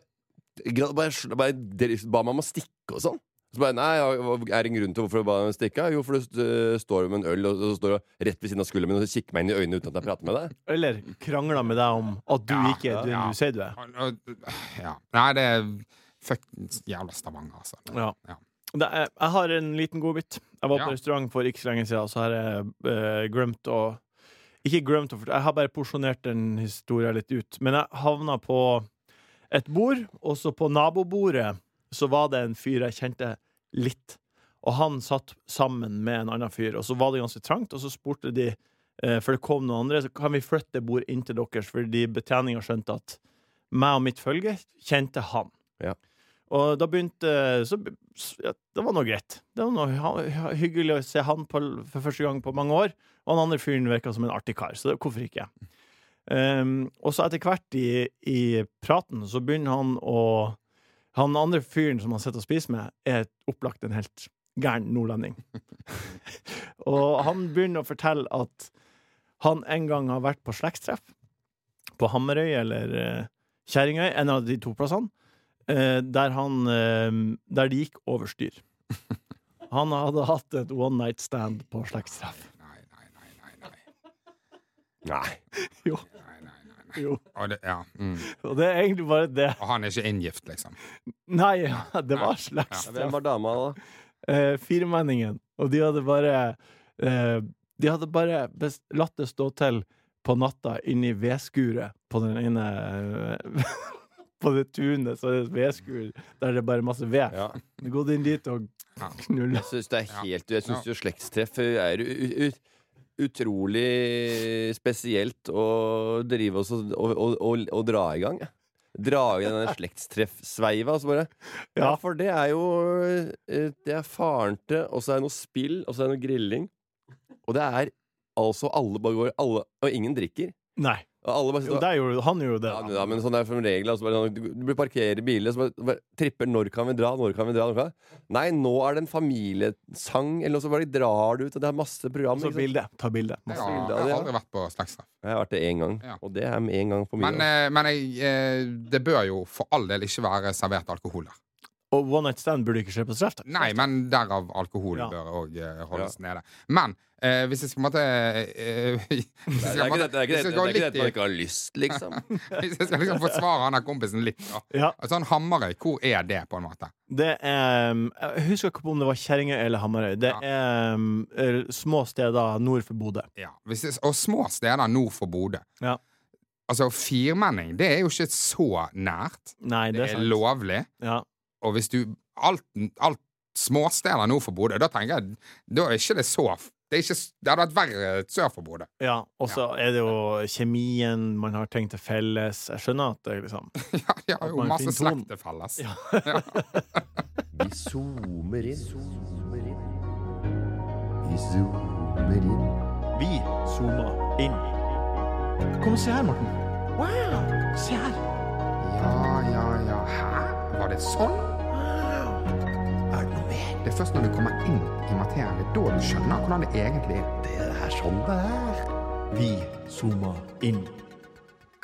E: gadd- bare, sl- bare dere- ba meg om å stikke og sånn. Så bare, nei, ja, hva- Er det en grunn til hvorfor du ba meg om å stikke? Jo, for du eh, står med en øl og, og står rett ved siden av skulderen min og kikker meg inn i øynene uten at jeg prater med deg.
B: Eller krangla med deg om at du
D: Ja,
B: ikke er den
D: ja.
B: du sier du er.
D: Og- og- øh, Ja. Nei, det er Fuck jævla Stavanger, altså.
B: Ja.
D: Ja.
B: Det er, jeg har en liten godbit. Jeg var
D: Ja.
B: på restaurant for ikke så lenge siden, så har jeg eh, glemt å Ikke glemt å fortelle, jeg har bare porsjonert den historien litt ut. Men jeg havna på et bord, og så på nabobordet så var det en fyr jeg kjente litt. Og han satt sammen med en annen fyr, og så var det ganske trangt, og så spurte de eh, for det kom noen andre, så kan vi flytte bord inn til deres, fordi betjeninga skjønte at meg og mitt følge kjente han.
E: Ja.
B: Og da begynte så, be- s- ja, Det var nå greit. Det var nå hy- hy- hyggelig å se han på, l- for første gang på mange år. Og han andre fyren virka som en artig kar, så det, hvorfor ikke? Ehm, og så etter hvert i, i praten så begynner han å Han andre fyren som han sitter og spiser med, er opplagt en helt gæren nordlending. og han begynner å fortelle at han en gang har vært på slektstreff på Hammerøy eller eh, Kjerringøy, en av de to plassene, eh, der, han, eh, der de gikk over styr. Han hadde hatt et one night stand på slektstreff.
D: Nei, nei, nei, nei, nei.
E: Nei.
B: Jo,
D: nei, nei, nei, nei.
B: jo.
D: Og, det, ja, mm.
B: Og det er egentlig bare det.
D: og han er ikke inngift, liksom.
B: Nei, det var
E: Hvem
B: slektstreff.
E: var dama da?
B: Eh, Firmenningen. Og de hadde bare eh, De hadde bare bes- latt det stå til på natta inni vedskuret på den ene eh, På det tunet, så er det et vedskur der det er bare masse ved.
E: Ja.
B: Gått inn dit og
D: Ja.
B: knulla.
E: Jeg syns det er
D: Ja.
E: helt Jeg synes jo slektstreff er u- u- u- utrolig spesielt å drive oss og, og, og, og, og dra i gang. jeg. Dra i den der slektstreffsveiva. Altså bare. Ja.
B: Ja.
E: for det er jo eh, Det er faren til, og så er det noe spill, og så er det noe grilling. Og det er altså alle bare går alle, Og ingen drikker.
B: Nei.
E: Og alle
B: Jo,
E: bare sitter og
B: der gjorde, han gjorde det.
E: ja,
B: da.
E: men- ja, men sånn er som regel altså, bare, sånn, Du du parkerer biler Så bare, bare tripper Når kan vi dra? Når kan vi dra? Når kan? vi-" Nei, nå er det en familiesang Eller noe, så bare drar du ut Og det er masse program
B: Så
D: Altså,
E: ikke sant?
B: bilde. Ta bilde.
D: Ja,
E: Masse
D: jeg
E: bilder av
D: har
E: det, ja.
D: aldri vært på slektstreff.
E: Jeg har vært det en gang
D: Ja.
E: Og det er med en gang for mye
D: Men, eh, men jeg, eh, det bør jo for all del ikke være servert alkohol der.
B: Og one night stand burde ikke skje på treff. da.
D: Nei, men derav alkohol
B: Ja.
D: bør òg holdes nede. Men eh, hvis jeg skal på en måte eh, hvis
E: det
D: jeg
E: er
D: skal
E: ikke
D: på en
E: dette, det er
D: måte-
E: ikke dette,
D: hvis jeg skal
E: det
D: gå
E: er ikke dette man
D: litt i-
E: ikke har lyst, liksom
D: hvis jeg skal liksom forsvare han der kompisen litt da.
B: Ja,
D: Sånn Hammerøy, hvor er det, på en måte?
B: det er um, Jeg husker ikke om det var Kjerringøy eller Hamarøy. Det
D: Ja.
B: er um, er små steder nord for Bodø.
D: Ja. Hvis det, og små steder nord for Bodø.
B: Ja.
D: Altså, firmenning, det er jo ikke så nært.
B: Nei, det
D: Det
B: er
D: er
B: sant.
D: lovlig.
B: Ja.
D: Og hvis du Alt, alt småsteder nord for Bodø, da tenker jeg Da er ikke det så Det, er ikke, s- det hadde vært verre sør for Bodø.
B: ja. Og så er det jo kjemien man har tenkt til felles. Jeg skjønner at det er liksom
D: Ja, de har
B: At
D: jo
B: man
D: masse
B: finner ton.
D: slekt til felles.
B: Ja.
C: Vi zoomer inn. Zoomer inn. Vi zoomer inn.
B: Vi zoomer inn. Kom og se her, Morten. Wow! Se her.
D: Ja, ja, ja. Hæ? Var det sånn?
C: Er det noe mer?
D: Det er først når du kommer inn i materien, det er da du skjønner hvordan det egentlig er.
C: Det er det her sånn det er.
B: Vi zoomer inn.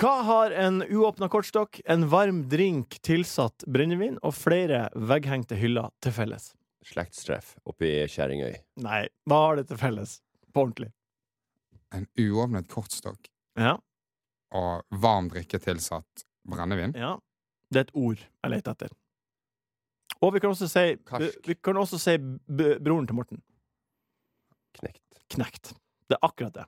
B: Hva har en uåpna kortstokk, en varm drink tilsatt brennevin og flere vegghengte hyller til felles?
E: Slektstreff oppe i Kjerringøy.
B: Nei, hva har det til felles? På ordentlig.
D: En uåpnet kortstokk
B: Ja,
D: og varm drikke tilsatt brennevin.
B: ja. Det er et ord jeg leter etter. Og vi kan også si,
E: Karsk.
B: vi kan også si b broren til Morten.
E: Knekt.
B: Knekt. Det er akkurat det.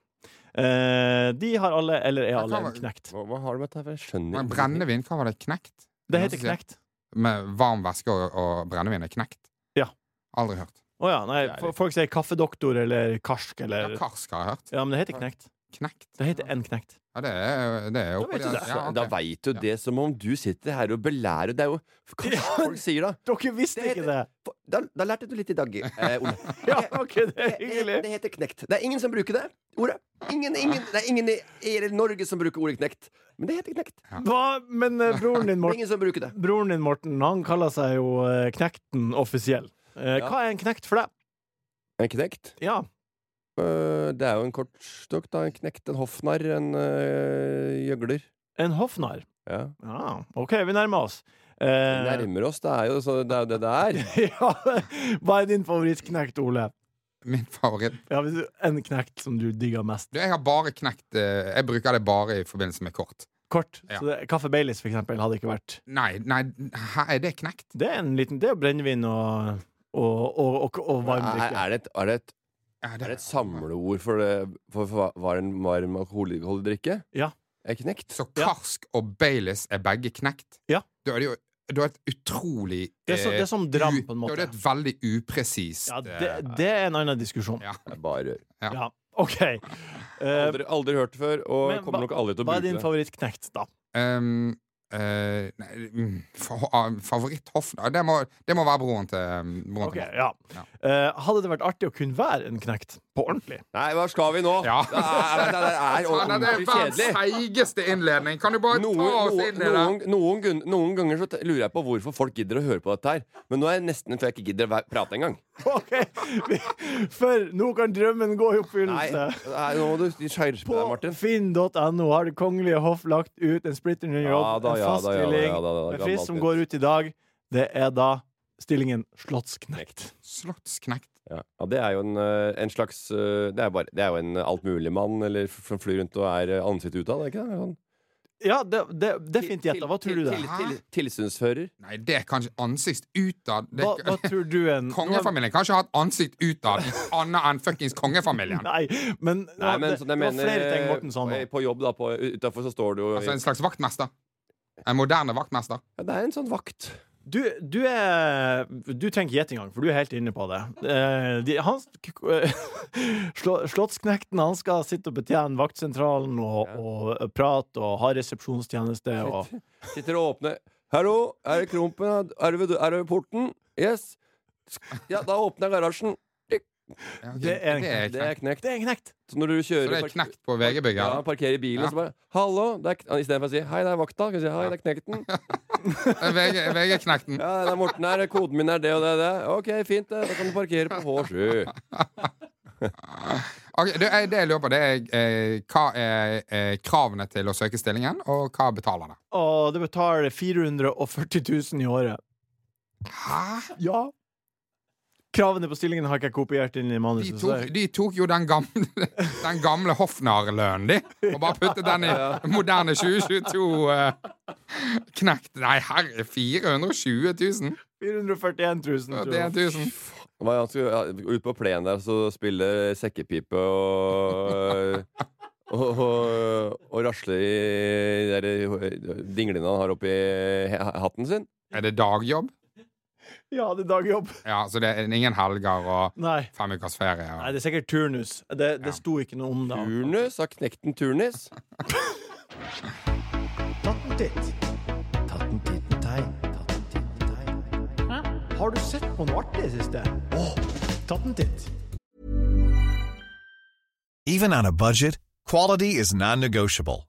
B: Eh, de har alle, eller er
D: Jeg
B: alle,
D: kan
B: en
D: være-
B: knekt.
E: Hva, hva har du med dette? her? Jeg skjønner
D: Men
E: ingenting.
D: brennevin, hva var det? Knekt?
B: Det
D: Noen
B: heter
D: som sier-
B: knekt.
D: Med varm væske og, og brennevin er knekt?
B: Ja.
D: Aldri hørt.
B: Å ja, nei,
E: Det er
B: fo- folk sier kaffedoktor eller karsk
D: Ja,
B: eller
D: karsk har jeg hørt.
B: Ja, men det heter knekt.
D: Knekt.
B: Det heter en knekt.
D: Ja, det er, det er jo
B: vet du det.
D: Ja,
E: Da
D: ok.
E: veit du
D: Ja.
E: det som om du sitter her og belærer. Det er jo Hva
B: Ja.
E: folk sier da?
B: Dere visste
E: Det
B: ikke det!
E: heter- Da, da lærte du litt i dag, eh, Ole.
B: Ja, ok, det er
E: Det,
B: hyggelig.
E: det heter knekt. Det er ingen som bruker det ordet. Ingen, ingen, det er ingen i hele Norge som bruker ordet knekt. Men det heter knekt. Det
B: Hva? Men eh, broren din,
E: er
B: Morten,
E: ingen som bruker det.
B: broren din, Morten han kaller seg jo eh, Knekten offisiell. Eh,
E: Ja.
B: Hva er en knekt for deg?
E: En knekt?
B: Ja.
E: Øh, Det er jo en kortstokk, da. En knekt, en hoffnarr, en øh, gjøgler.
B: En hoffnarr.
E: Ja.
B: Ja, OK, vi nærmer oss. Eh,
E: Vi nærmer oss. Det er jo så, det er jo det det er.
B: ja, hva er din favorittknekt, Ole?
D: Min favoritt.
B: Ja, hvis du- en knekt som du digger mest.
D: Du, jeg har bare knekt eh, Jeg bruker det bare i forbindelse med kort.
B: Kort.
D: Ja.
B: Så det, Kaffe Baileys, for eksempel, hadde ikke vært
D: Nei, nei, hæ, er det knekt?
B: Det er en liten Det er brennevin og, og, og, og, og varm
E: Er,
B: drikke.
E: er, det et, er, det et,
D: Ja,
E: er det et samleord for, det, for, for hva- hva er en varm alkoholholdig drikke?
B: Ja.
E: Er knekt?
D: Så
B: Ja.
D: Karsk og Baileys er begge knekt?
B: Ja.
D: Da er det jo da er det et utrolig
B: Det er, så,
D: eh,
B: det er som dram,
D: u-
B: på en
D: Da
B: måte.
D: er det et veldig upresist
B: Ja, det,
D: eh,
B: det er en annen diskusjon.
D: ja.
E: Det er Bare rør.
D: Ja.
B: Ja, OK. Eh,
E: Aldri, aldri hørt det før, og
B: men hva-
E: kommer nok aldri til å
B: Hva er
E: bruke
B: din
E: det.
B: favorittknekt, da?
D: Um, eh, nei, mm, fa- ah, favoritt Hoffner det må, det må være broren til um, broren
B: Ok,
D: til
B: ja.
D: Ja.
B: Eh, hadde det vært artig å kunne være en knekt på ordentlig?
E: Nei, hva skal vi nå?
D: Ja.
E: Det er, det er, det er
D: Faen, det er
E: ordentlig
D: verdens
E: kjedelig.
D: seigeste innledning! Kan du bare
E: Noen,
D: ta oss
E: noen,
D: inn i det?
E: noen, noen, gun- noen ganger så t- lurer jeg på hvorfor folk gidder å høre på dette her. Men nå er jeg nesten til jeg ikke gidder å væ- prate engang.
B: Ok, vi- For nå kan drømmen gå i
E: Nei,
B: oppfyllelse.
E: nei, nå må du skjerpe deg,
B: På
E: Martin.
B: finn.no har Det kongelige hoff lagt ut en splitter ny jobb,
E: Ja da,
B: en
E: ja
B: fast
E: da, ja da,
B: stilling.
E: ja da, ja da,
B: en
E: gammelt
B: frist som
E: nytt.
B: går ut i dag. Det er da stillingen slottsknekt.
D: Slottsknekt.
E: Ja, ja det er jo en, eh, en slags eh, Det er, bare, det er jo en altmuligmann eller f- som flyr rundt og er eh, ansiktet utad, er det ikke det? Sånn.
B: Ja, det, det, det er fint gjetta. Hva tror du det er?
E: Til, til, til, tilsynsfører.
D: Nei, det er kanskje ansikt utad. Det-
B: Hva, hva tror du en
D: Kongefamilien kan ikke ha et ansikt utad annet enn fuckings kongefamilien.
B: Nei, men,
E: Nei, men
B: det,
E: som
B: det
E: jeg
B: var
E: mener
B: flere ting Morten sa nå.
E: eh, På jobb, da. på- Utafor så står det jo
D: Altså en slags vaktmester. En moderne vaktmester.
E: ja, Det er en sånn vakt.
B: Du, du er Du trenger ikke gjette engang, for du er helt inne på det. Eh, de, han, slå- Slottsknekten han skal sitte og betjene vaktsentralen og, og prate og ha resepsjonstjeneste og
E: Sitter og åpner. 'Hallo, er det Krompen? Er det, ved- er det ved porten?' 'Yes.' Ja, da åpner jeg garasjen.
D: Ja, ok,
B: Det er en-
E: Det er knekt.
B: Det er knekt!
E: Så når du
D: Så
E: kjører
D: det er
E: park-
D: knekt på VG-bygget?
E: Ja,
D: eller?
E: parkerer bilen,
D: Ja.
E: så bare 'Hallo.' det er kn- Istedenfor å si 'Hei, det er vakta', kan du si 'Hei, det er knekten'.
D: VG VG-knekten.
E: Ja, det er Morten her. Koden min er det og det og det. Ok, fint. det. Da kan du parkere på H7.
D: Ok, det, jeg, det jeg lurer på, det er eh, hva er eh, kravene til å søke stillingen, og hva betaler det?
B: Og det betaler 440 000 i året.
D: Hæ?
B: Ja. Kravene på stillingen har ikke jeg kopiert inn i
D: De
B: manuset. så
D: tok, de tok jo den gamle, den gamle Hofnar-lønnen, de, og bare puttet den i moderne 2022 eh, knekt. Nei, herre, 420 000?
B: 441 000,
D: Ja,
B: tror
D: Det er
B: jeg.
D: 1000.
E: Hva, Han skulle ja, ut på plenen der så spille sekkepipe og Og, og, og rasle i de der dinglene han har oppi he- hatten sin.
D: Er det dagjobb?
B: Ja, det er dagjobb.
D: Ja, så det er ingen helger og
B: Nei.
D: fem ukers ferie.
B: Nei,
D: Og.
B: det er sikkert turnus. Det, det sto ikke noe om det.
E: Turnus har knekt en turnis.
B: Tatt en titt.
C: Tatt en titten tegn. Tatt en titten tegn.
B: Har du sett på noe artig i det siste? Åh, tatt en titt.
G: Even on a budget, quality is non-negotiable.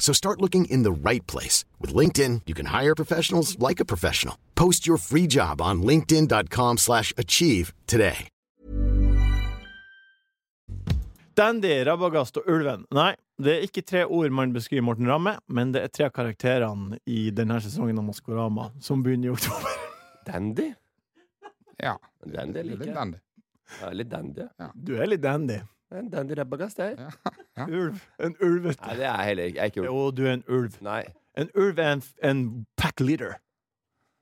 F: So start looking in the right place. With LinkedIn, you can hire professionals like a professional. Post your free job on linkedin.com slash achieve today.
B: Dandy, Rabagast og Ulven. Nei, det er ikke tre ord man beskriver Morten Ramme, men det er tre av karakterene i denne sesongen av Maskorama, som begynner i oktober.
E: Dandy?
D: Ja.
E: Dandy
D: Litt
E: liker jeg.
D: dandy.
E: Ja, litt dandy.
B: Du er litt dandy.
E: En dandy rabbagast, jeg.
D: Ja.
B: Ulv. En ulvete.
E: Nei, det er jeg heller ikke. Jeg er ikke ulv.
B: Jo, du er en ulv.
E: Nei.
B: En ulv er en, en pack leader.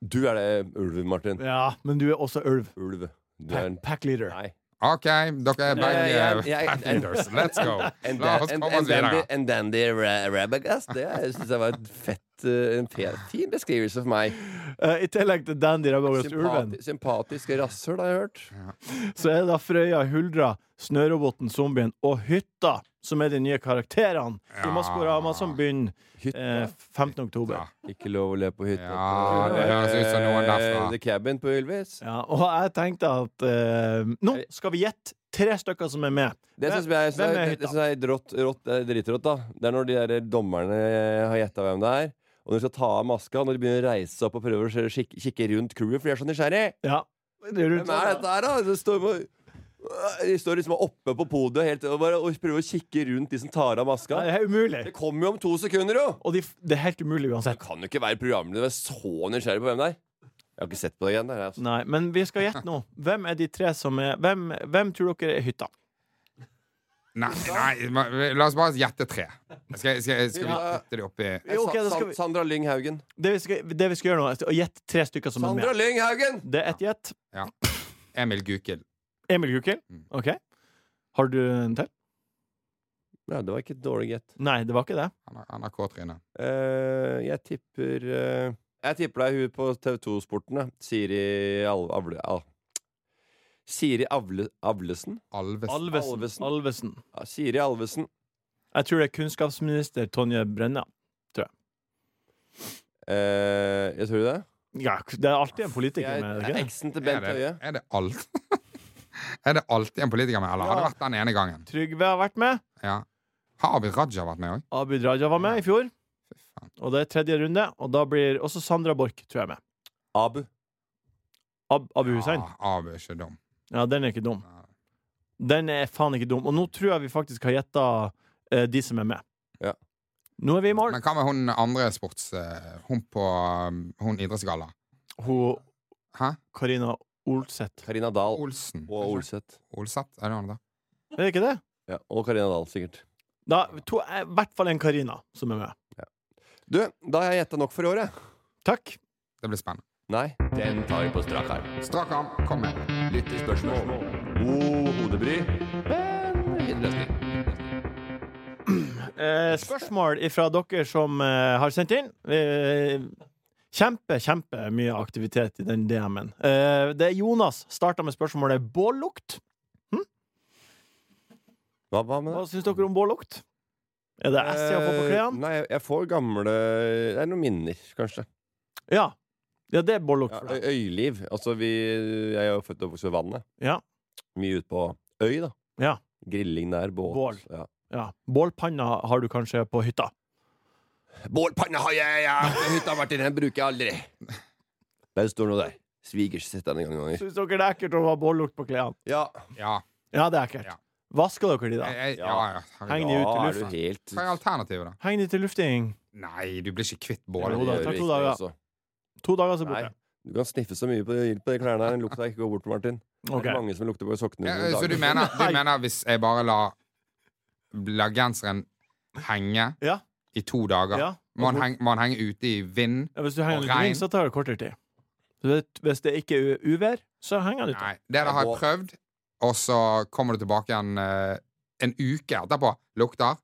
E: Du er det ulv, Martin.
B: Ja, men du er også ulv.
E: Ulv. Du er
B: Pack,
E: en
B: pack leader.
E: Nei.
D: OK, dere er
E: Nei,
D: begge
E: jeg-
D: eh,
E: jeg-
D: pack leaders. Let's go.
E: En,
D: La
E: da-
D: oss
E: en,
D: komme
E: en,
D: oss videre.
E: dandy, en dandy ra- rabbagast. Det er- jeg synes jeg var et fett, eh, en fe- fin beskrivelse for meg.
B: Eh, I tillegg til Dandy Rabagast Ulven,
E: Sympati, sympatisk rasshøl, har jeg hørt.
B: så er det da Frøya, Huldra, Snøroboten, Zombien og Hytta som er de nye karakterene i
D: Ja.
B: Maskorama som begynner eh,
E: Hytta.
B: 15. oktober.
D: Ja.
E: Ikke lov å le på hytta.
D: Ja, det høres ut som noen derfra.
E: Eh, The Cabin på Ylvis.
B: Ja, og jeg tenkte at eh, Nå skal vi gjette tre stykker som er med.
E: Det
B: Hvem-
E: syns jeg,
B: hvem
E: det,
B: er
E: det
B: hytta?
E: synes jeg er rått, rått, eh, dritrått, da. Det er når de der dommerne har gjetta hvem det er, og når de skal ta av maska, når de begynner å reise seg opp og prøve å se- kik kikke rundt crewet, for de er så nysgjerrige.
B: Ja. Det er rundt
E: Hvem er dette her, da? De står, på, de står liksom oppe på podiet helt, og, bare, og prøver å kikke rundt de som tar av maska.
B: Nei, det er umulig.
E: Det kommer jo om to sekunder, jo!
B: Og de, f- det er helt umulig uansett.
E: Kan jo ikke være programleder og være så nysgjerrig på hvem det er. Jeg har ikke sett på det igjen. Der, altså.
B: Nei, men vi skal gjette nå. Hvem er de tre som er Hvem, hvem tror dere er hytta?
D: Nei, nei, ma- la oss bare gjette tre. Skal, skal, skal vi
E: Ja.
D: putte de oppi
B: Jo, ok, da skal vi-
E: Sa- Sandra Lyng Haugen.
B: Det vi skal, det vi skal gjøre nå, er å gjette tre stykker som
E: Sandra
B: er med.
E: Lyng Haugen!
B: Det er ett gjett.
D: Emil Gukild?
B: Emil Gukild.
E: Mm.
B: OK. Har du en til?
E: Nei, det var ikke et dårlig gjett.
B: Nei, det var ikke det.
D: Han har- han har K-tryne.
E: Eh, jeg tipper eh, Jeg tipper deg hun på TV2-sporten, jeg. Siri Al Avle... Al Siri Avle Avlesen?
D: Alves.
B: Alvesen.
E: Alvesen.
B: Alvesen.
E: Ja, Siri Alvesen.
B: Jeg tror det er kunnskapsminister Tonje Brenna.
E: Eh, jeg tror det.
B: Ja, det er alltid en politiker
E: Jeg,
B: med
E: jeg
B: ikke
E: er
B: det?
E: eksen til
D: Er
E: Bent Høie.
D: det, er det alt? er det alltid en politiker med, eller har det
B: Ja.
D: vært den ene gangen?
B: Trygve har vært med.
D: Ja. Har Abid Raja vært med òg?
B: Abid Raja var med i fjor.
D: Fy faen.
B: Og det er tredje runde. Og da blir også Sandra Borch, tror jeg, med.
E: Abu.
B: Ab Abu Hussein.
D: Ja, Abu er ikke dum.
B: Ja, den er ikke dum. Den er faen ikke dum. Og nå tror jeg vi faktisk har gjetta eh, de som er med.
E: Ja.
B: Nå er vi i mål.
D: Men hva med hun andre sports... eh, Hun på um, Hun idrettsgalla?
B: Hun
D: Hæ?
B: Karina Olseth.
E: Karina Dahl
D: Olsen?
E: og Olseth.
D: Olseth? Er det han da?
B: Er det ikke det?
E: Ja, og Karina Dahl, sikkert.
B: Da, to, eh, I hvert fall en Karina som er med.
E: Du, da har jeg gjetta nok for i år, jeg.
B: Takk.
D: Det blir spennende.
E: Nei. Den tar vi på strak arm.
D: Strak arm, kom med.
E: Lyttespørsmål. God hodebry. Men fin løsning.
B: Eh, spørsmål fra dere som eh, har sendt inn. Eh, kjempe, kjempe mye aktivitet i den DM-en. Eh, det er Jonas starta med spørsmålet bållukt.
E: Hva, hva med det?
B: Hva syns dere om bållukt? Er det S jeg får på
E: Eh,
B: klærne?
E: Nei, jeg får gamle Det er noen minner, kanskje.
B: Ja. ja, det er bållukt
E: Ja,
B: for deg.
E: ø- øyliv. Altså, vi Jeg er jo født og oppvokst ved vannet.
B: Ja.
E: Mye ute på øy, da.
B: Ja.
E: Grilling der, båt.
B: Bål.
E: Ja.
B: Ja. Bålpanna har du kanskje på hytta.
E: Bålpanne har jeg! Ja. Hytta, Martin, den bruker jeg aldri. Den står nå der. Svigers setter den en gang noen ganger.
B: Syns dere det er ekkelt å ha bållukt på klærne?
E: Ja.
D: Ja.
B: Ja, det er ekkelt.
D: Ja.
B: Vasker dere de, da?
D: Jeg, jeg,
E: Ja.
D: ja, ja.
B: Heng
D: herregud.
B: de ut
E: ja,
B: i
E: er du
B: lufta.
E: helt
D: Hva er alternativet, da?
B: Heng de til lufting.
D: Nei, du blir ikke kvitt
B: Jo
D: bålet.
B: da,
E: Det gjør
B: takk
E: vi
B: for det,
E: ikke også.
B: To dager, så er det
E: altså. Nei,
B: borte.
E: du kan sniffe så mye på, på de klærne her. Den lukta ikke går bort, Martin. Det
B: Ok.
E: er mange som lukter på sokkene.
D: Ja,
E: dine
D: så du
E: daglig.
D: mener, du
B: Nei.
D: mener hvis jeg bare lar La genseren henge
B: Ja.
D: i to dager
B: Ja.
D: må, han henge, må han henge ute i vind?
B: Ja, hvis du henger
D: Og
B: den ut i
D: regn.
B: vind, så tar det kortere tid. Så det- Hvis det ikke er u- uvær, så henger den ute.
D: Nei, det der har jeg
E: må-
D: prøvd, og så kommer du tilbake igjen eh, en uke etterpå. Lukter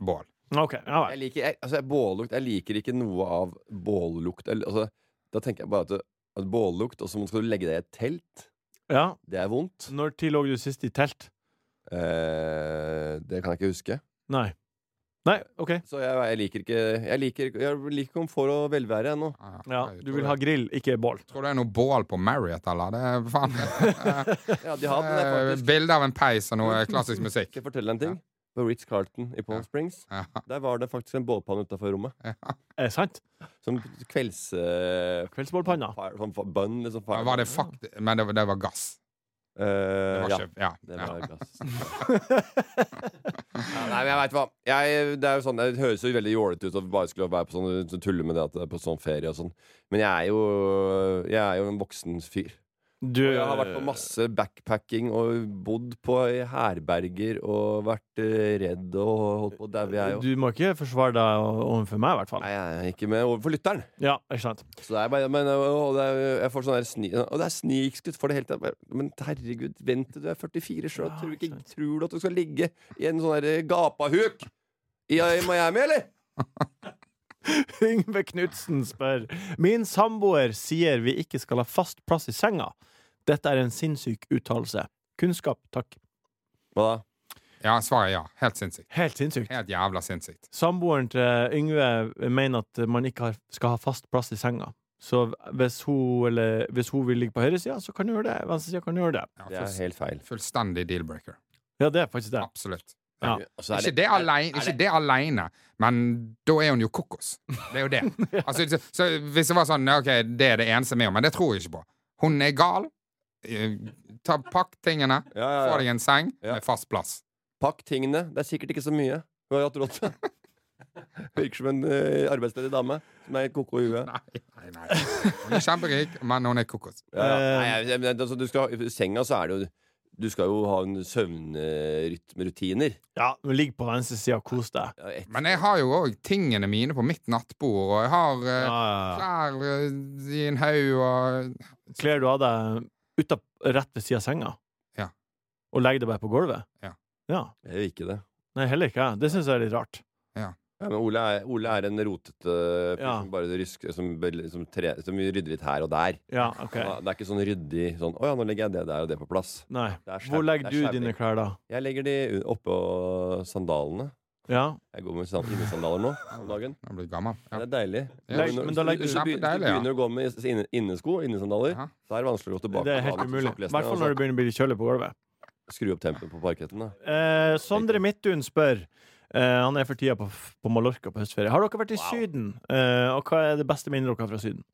D: bål.
B: Ok, ja
E: Jeg
B: vel.
E: liker, jeg, altså, jeg- bållukt Jeg liker ikke noe av bållukt. Eller, Altså, da tenker jeg bare at, at bållukt, og så skal du legge deg i et telt.
B: Ja.
E: Det er vondt.
B: Når tid lå du sist i telt?
E: Eh, det kan jeg ikke huske.
B: Nei. Nei, OK.
E: Så jeg, jeg liker ikke Jeg liker, jeg liker komfort og velvære ennå.
D: Ah,
B: Ja,
D: jeg
B: du
D: tror
B: vil
D: det-
B: ha grill, ikke bål.
D: Tror det er noe bål på Marriott, eller? Det er faen
E: Ja, de har den der, faktisk.
D: Bilde av en peis og noe klassisk musikk.
E: Skal jeg fortelle deg en ting? På Ritz Carlton i Palm
D: Ja.
E: Springs
D: Ja.
E: Der var det faktisk en bålpanne utafor rommet.
B: Er det sant?
E: Som kvelds... eh,
B: Kveldsbålpanna.
E: fire- Sånn fa- bønn, liksom.
D: Men Var det fakt... Men det var, det var gass. Det
E: Eh,
D: var
E: ja.
D: ikke, ja.
E: Det
D: ja.
E: var gass. Ja, nei, men jeg veit hva. Jeg, det, er jo sånn, det høres jo veldig jålete ut å bare skulle være på sånn, tulle med det at det er på sånn ferie og sånn, men jeg er jo, jeg er jo en voksen fyr.
B: Du
E: Og jeg har vært på masse backpacking og bodd på i herberger og vært eh, redd og holdt på å daue, jeg
B: eh,
E: òg.
B: Du må ikke forsvare deg overfor meg, i hvert fall.
E: Nei, jeg er ikke med overfor lytteren.
B: Ja, ikke sant?
E: Så det er bare, men, og det er, jeg får sånn der sni, Og det er snikskutt for det hele tatt. Men herregud, vent til du er 44 sjøl.
B: Ja,
E: Tror, du
B: ikke
E: ikke-
B: sant.
E: tror du at du skal ligge i en sånn der gapahuk i, i Miami, eller?
B: Yngve Knutsen spør Min samboer sier vi ikke skal ha fast plass i senga. Dette er en sinnssyk uttalelse. Kunnskap, takk.
E: Hva da?
D: ja, svaret er ja. Helt sinnssykt.
B: Helt sinnssykt.
D: Helt jævla sinnssykt.
B: Samboeren til Yngve mener at man ikke har, skal ha fast plass i senga. Så hvis hun, eller, hvis hun vil ligge på høyresida, så kan hun gjøre det. Venstresida kan hun gjøre det.
D: Ja,
E: Det er
D: fullst-
E: helt feil.
D: Fullstendig deal-breaker.
B: Ja, det er faktisk det.
D: Absolutt.
B: Ja.
E: Altså, er
D: ikke det, alene, ikke det alene, men da er hun jo kokos. Det er jo det. Altså, så, så hvis det var sånn OK, det er det eneste med henne, men det tror jeg ikke på. Hun er gal. Eh, Ta, pakk tingene,
E: Ja,
D: få
E: ja,
D: deg
E: ja.
D: en seng
E: Ja.
D: med fast plass.
E: Pakk tingene. Det er sikkert ikke så mye. Hun har jo hatt råd til det. Virker som en eh, arbeidsledig dame som er helt koko i huet.
D: Nei, nei, nei. Hun er kjemperik, men hun er kokos.
E: Ja, ja. Nei, jeg- jeg- altså, du skal, I senga så er det jo Du skal jo ha en søvnrytmerutiner.
B: Ja, men Ligg på venstresida og kos deg.
E: Ja, et-
D: Men jeg har jo òg tingene mine på mitt nattbord, og jeg har eh,
B: Ja, ja, ja.
D: klær eh, i en haug og
B: Kler du av deg uta, rett ved sida av senga,
D: Ja.
B: og legger deg bare på gulvet?
D: Ja.
B: ja.
E: Jeg gjør ikke det.
B: Nei, heller ikke jeg. Det syns jeg er litt rart.
E: Ja, men Ole er, Ole er en rotete fyr
B: Ja.
E: som bare rysker som, bel- som, tre, som rydder litt her og der.
B: Ja, ok.
E: Han er- Det er ikke sånn ryddig sånn 'Å ja, nå legger jeg det der og det på plass'.
B: Nei.
E: Det er skjæv-
B: Hvor
E: det
B: legger
E: er
B: du
E: skjævling.
B: dine klær, da?
E: Jeg legger de oppå sandalene.
B: Ja.
E: Jeg går med sand- innesandaler nå om dagen.
D: Jeg har blitt gammel.
E: Det
D: Ja.
E: er deilig.
D: Ja.
E: Når- når-
B: Men da legger du-
E: hvis du, begynner- hvis du
D: Kjempedeilig, ja.
E: begynner å gå med is- inne- innesko, innesandaler,
D: Ja.
E: så er det vanskelig å gå tilbake.
B: Det er
E: på
B: helt
E: annet
B: umulig. I
E: opplesning,
B: hvert fall når det begynner å bli kjølig på gulvet.
E: altså. Skru opp tempoet på parketten, da.
B: Eh, Sondre Midtun spør eh, Han er for tida på, på Mallorca på høstferie. Har dere vært i Syden? Eh, og hva er det beste minnet dere har fra Syden?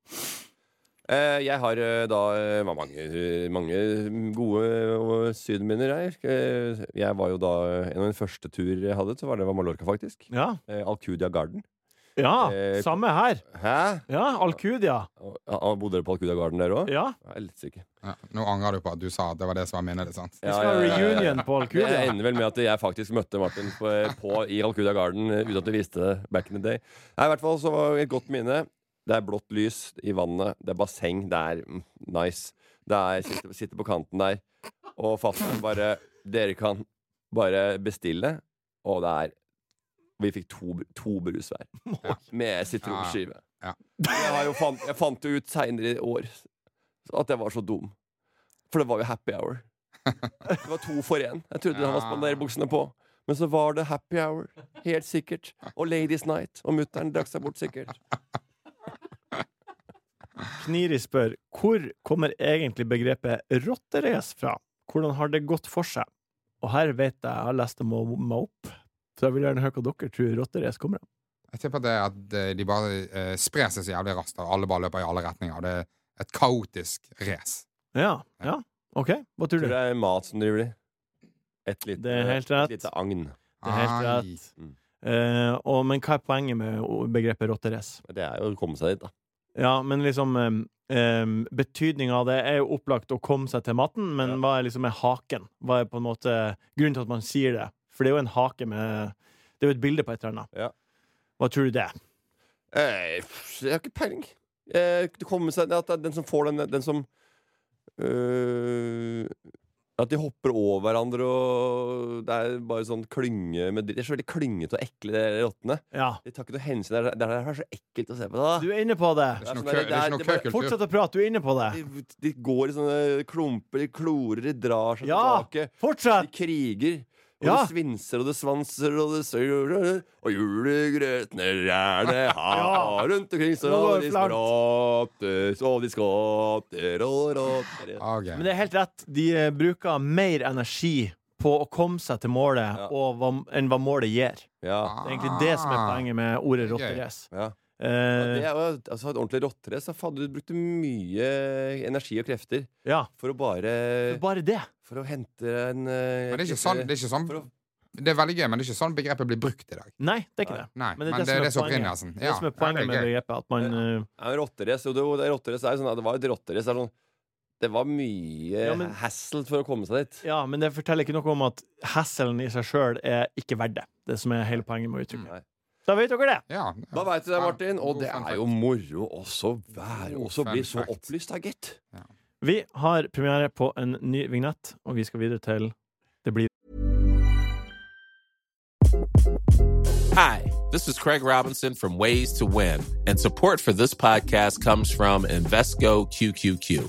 E: Eh, jeg har eh, da eh, var mange, mange mm, gode eh, sydenminner. Jeg. Eh, jeg var jo da eh, En av mine første tur jeg hadde, så var det var Mallorca, faktisk.
B: Ja,
E: Eh, Alcudia Garden.
B: ja
E: Eh,
B: samme her.
E: Hæ?
B: Ja, Alcudia.
E: Og- ja, Bodde dere på Alcudia Garden der òg?
B: Ja.
E: Jeg er litt sikker.
D: Ja. Nå angrer du på at du sa at det var det som var minnet ditt, sant?
B: Vi skal ha reunion på
E: Det
B: Alcudia.
E: ender vel med at jeg faktisk møtte Martin på, på i Alcudia Garden eh, uten at du visste det back in the day. Nei, i hvert fall så var det et godt minne. Det er blått lys i vannet, det er basseng, det er mm, nice. Det er sitte, sitte på kanten der, og fatter'n bare Dere kan bare bestille, og det er Vi fikk to, br- to brus hver. Med sitronskive.
D: Ja.
E: Jeg, har jo fant, jeg fant jo ut seinere i år at jeg var så dum. For det var jo happy hour. Det var to for én. Jeg trodde han var spanderbuksene på. Men så var det happy hour. Helt sikkert. Og Ladies Night. Og mutter'n drakk seg bort, sikkert.
B: Kniri spør hvor kommer egentlig begrepet rotterace fra? Hvordan har det gått for seg? Og her vet jeg jeg har lest det meg meg opp, så jeg vil gjerne høre hva dere tror rotterace kommer av.
D: Jeg tipper det er at eh, de bare eh, sprer seg så jævlig raskt, og alle bare løper i alle retninger. Det er et kaotisk race.
B: Ja. ja. OK, hva tror
E: Tror
B: du?
E: det er mat som driver de. Et lite,
B: Det er helt
E: et
B: rett.
E: lite agn.
B: Det er helt
D: Ai.
B: rett.
E: Mm.
B: Eh, og, men hva er poenget med o- begrepet rotterace?
E: Det er jo å komme seg dit, da.
B: Ja, men liksom eh, eh, Betydninga av det er jo opplagt å komme seg til maten, men
E: Ja.
B: hva er liksom er haken? Hva er på en måte grunnen til at man sier det? For det er jo en hake med Det er jo et bilde på et eller annet.
E: Ja.
B: Hva tror du det er?
E: Eh, pff, jeg har ikke peiling. Eh, det kommer seg at den som får den, den som øh, At de hopper over hverandre og Det er bare sånn klynge med dritt. De er så veldig klyngete og ekle, de rottene.
B: Ja.
E: De tar ikke noe hensyn. Det er, det er, det er så ekkelt å se på.
B: Du
E: Da.
B: er inne på det.
D: Det er
E: sånn der-
D: ikke noe kø- det er
E: det
D: ikke
E: er-
D: noe
E: det er
D: køkultur.
B: Fortsett å prate, du er inne på det.
E: De, de går i sånne klumper, de klorer, de drar seg
B: Ja.
E: tilbake. De
B: Fortsett!
E: kriger. Og
B: Ja.
E: det svinser og det svanser og det sører Og julegrøtene rærne har rundt omkring så
B: Nå går
E: de
B: det flaut.
E: sprater og de skvatter og råter
D: Ah, Ok.
B: Men det er helt rett. De eh, bruker mer energi på å komme seg til målet
E: Ja.
B: og hva, enn hva målet gir.
E: Ja.
B: Det er egentlig det som er
E: Ah.
B: poenget med ordet rotterace.
E: ja. Ja, Det
B: Eh,
E: er jo altså, et ordentlig rotterace. Fader, du brukte mye energi og krefter
B: ja.
E: for å bare
B: Bare det.
E: For å hente en eh,
D: Men det er ikke sånn, det er ikke sånn
E: For å-
D: Det er veldig gøy, men det er ikke sånn begrepet blir brukt i dag.
B: Nei, det er ikke det.
D: Nei,
B: Men det er det som er
D: som
B: poenget.
D: brenner, altså.
B: Det
D: Ja,
B: som er
D: ja,
B: poenget med
D: gøy.
B: begrepet, at man eh,
E: Ja, men rotterace, jo, det, det, rotterace er jo sånn at det var et rotterace. Det, er sånn, det var mye
B: Ja, men-
E: hassle for å komme seg dit.
B: Ja, men det forteller ikke noe om at hasselen i seg sjøl er ikke verdt det. Det som er hele poenget med uttrykket.
E: Nei.
B: Da vet dere det!
D: Ja,
E: Da veit du det, Martin. Og
D: God
E: det
D: fun
E: er
D: fact.
E: jo moro også å være
D: God
E: også
D: fun
E: bli så
D: fact.
E: opplyst, da, gitt.
B: Vi har premiere på en ny vignett, og vi skal videre til Det blir
H: Hi, this is Craig Robinson from Ways to Win, and support for this podcast comes from Invesco QQQ.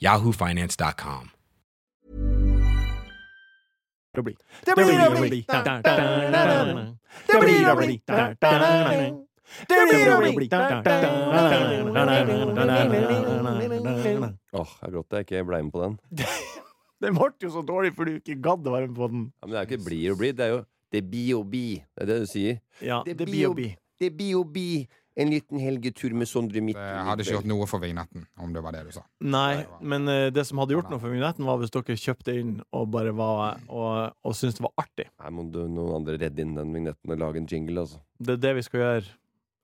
I: yahoofinance.com.
B: Det blir Det blir Det blir Det blir Det blir
E: Åh, jeg gråt jeg ikke ble med på den.
B: Den ble jo så dårlig fordi du ikke gadd å være med på den.
E: Ja, men det er jo ikke blir og blir, det er jo det blir og blir. Det er det du sier.
B: Ja,
E: Det
B: det
E: blir
B: blir
E: jo- Det blir og blir. En liten helgetur med Sondre midt
D: Det Eh, hadde ikke gjort noe for vignetten, om det var det du sa.
B: Nei, men eh, det som hadde gjort noe for vignetten, var hvis dere kjøpte inn og bare var og, og syntes det var artig.
E: Nei, må du, noen andre redde inn den vignetten og lage en jingle, altså.
B: Det er det vi skal gjøre.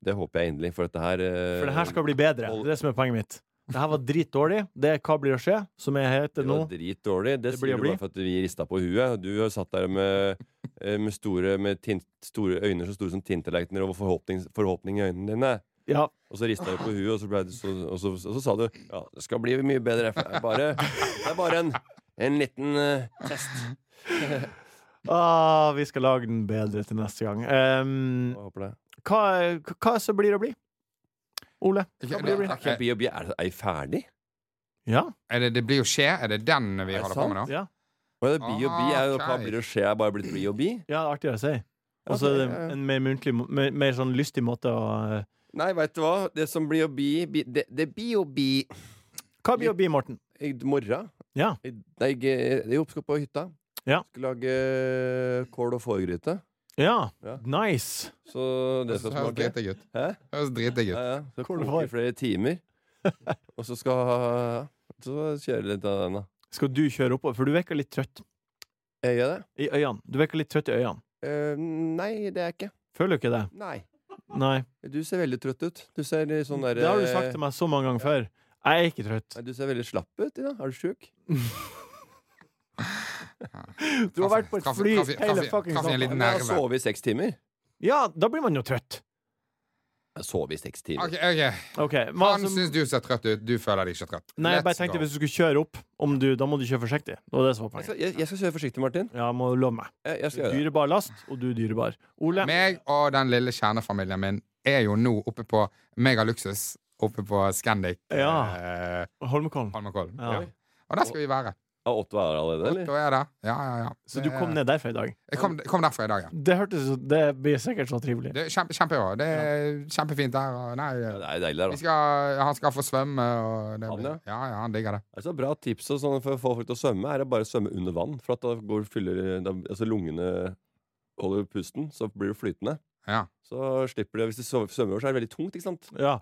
E: Det håper jeg endelig, for dette her eh,
B: For det her skal bli bedre. Det er det som er poenget mitt. Det her var dritdårlig. Det er Hva blir å skje? Som jeg
E: Det
B: heter nå.
E: var dritdårlig. Det,
B: Det blir
E: sier
B: å
E: du
B: bli.
E: bare for at vi rista på huet. Du har satt der med, eh, med, store, med tint, store øyne så store som tintallerkener og forhåpning, forhåpning i øynene dine.
B: Ja,
E: Og så rista du på huet, og så, ble du så, og så, og så sa du ja, det skal bli mye bedre. For det er bare, det er bare en, en liten eh, test.
B: ah, vi skal lage den bedre til neste gang. Ehm,
E: Jeg håper det.
B: hva, er- hva så blir å bli? Ole? Hva
D: Ikke-
B: blir å bli?
D: det-
E: Okay, B&B, er, er jeg ferdig?
B: Ja.
D: Er det, det blir jo skje? Er det den vi
E: Er det
D: holder på med nå?
B: Ja,
E: Og det B&B er jo hva
D: Ok.
E: blir å skje? Jeg er bare blitt B&B?
B: ja det er artig å si. Og så er det en mer muntlig, må- mer, mer sånn lystig måte å eh,
E: Nei, veit du hva? Det som blir å bli bli- Det, det blir å bli
B: Hva blir å bli, Morten?
E: i morgen.
B: Ja.
E: I, nei, jeg, jeg skal på hytta.
B: Ja.
E: Skal lage eh, kål og fårgryte.
B: Ja,
E: Ja.
B: nice!
E: Så det
D: Høres
E: skal smake.
D: dritig ut.
E: Hæ?
D: Høres dritig
E: Ja,
D: ut.
E: ja. Så
B: Kål og får.
E: koke i flere timer. Og så skal Så kjøre litt av den, da.
B: Skal du kjøre oppover? For du virker litt trøtt
E: Er jeg det?
B: i øynene. Du virker litt trøtt i øynene.
E: Eh, nei, det er jeg ikke.
B: Føler du ikke det?
E: Nei.
B: Nei.
E: Du ser veldig trøtt ut. Du ser litt sånn der
B: Det har du sagt til meg så mange ganger før. Jeg er ikke trøtt.
E: Nei, du ser veldig slapp ut, Ida. Er du sjuk?
B: Du har vært på et
D: Kaffe-
B: fly
D: kaffe-
B: hele
D: kaffe-
B: fucking
D: kaffe er
B: sommeren.
D: litt
E: Jeg har
D: nerve.
E: sovet i seks timer.
B: Ja, da blir man jo trøtt.
E: sove i seks timer.
D: OK. ok.
B: Ok, hva
D: Han
B: som-
D: syns du ser trøtt ut. Du føler deg ikke trøtt.
B: Nei, jeg bare
D: Let's
B: tenkte
D: go.
B: hvis du skulle kjøre opp, om du, da må du kjøre forsiktig. Det var det som var
E: Jeg
D: Altså-
B: poenget.
E: skal, jeg, jeg skal kjøre forsiktig, Martin.
B: Ja, må du love meg.
E: Jeg, jeg skal gjøre det.
B: Dyrebar last, og du er dyrebar. Ole,
D: Meg og den lille kjernefamilien min er jo nå oppe på megaluksus oppe på Scandic
B: Ja.
D: eh,
B: Holmenkollen.
D: Holmenkollen.
B: Ja.
D: Ja. Og der skal vi være.
E: Har Otto her allerede, eller?
D: Da er det. Ja, ja, ja.
B: Så du
D: Det-
B: kom ned derfra i dag?
D: Jeg kom, kom derfra i dag, ja.
B: Det hørtes ut Det blir sikkert så trivelig.
D: Det er kjempe, kjempebra. Det er kjempefint der. Og nei,
E: Ja, det er deilig der, da.
D: vi skal, han skal få svømme. Og det,
E: Han,
D: blir-
E: ja?
D: ja, ja, han digger det.
E: Altså, bra tips og sånn for å få folk til å svømme er å bare svømme under vann. For at da går fyller da, altså, lungene holder pusten, så blir du flytende.
D: Ja.
E: Så slipper du Hvis du sov- svømmer over, så er det veldig tungt, ikke sant?
B: Ja.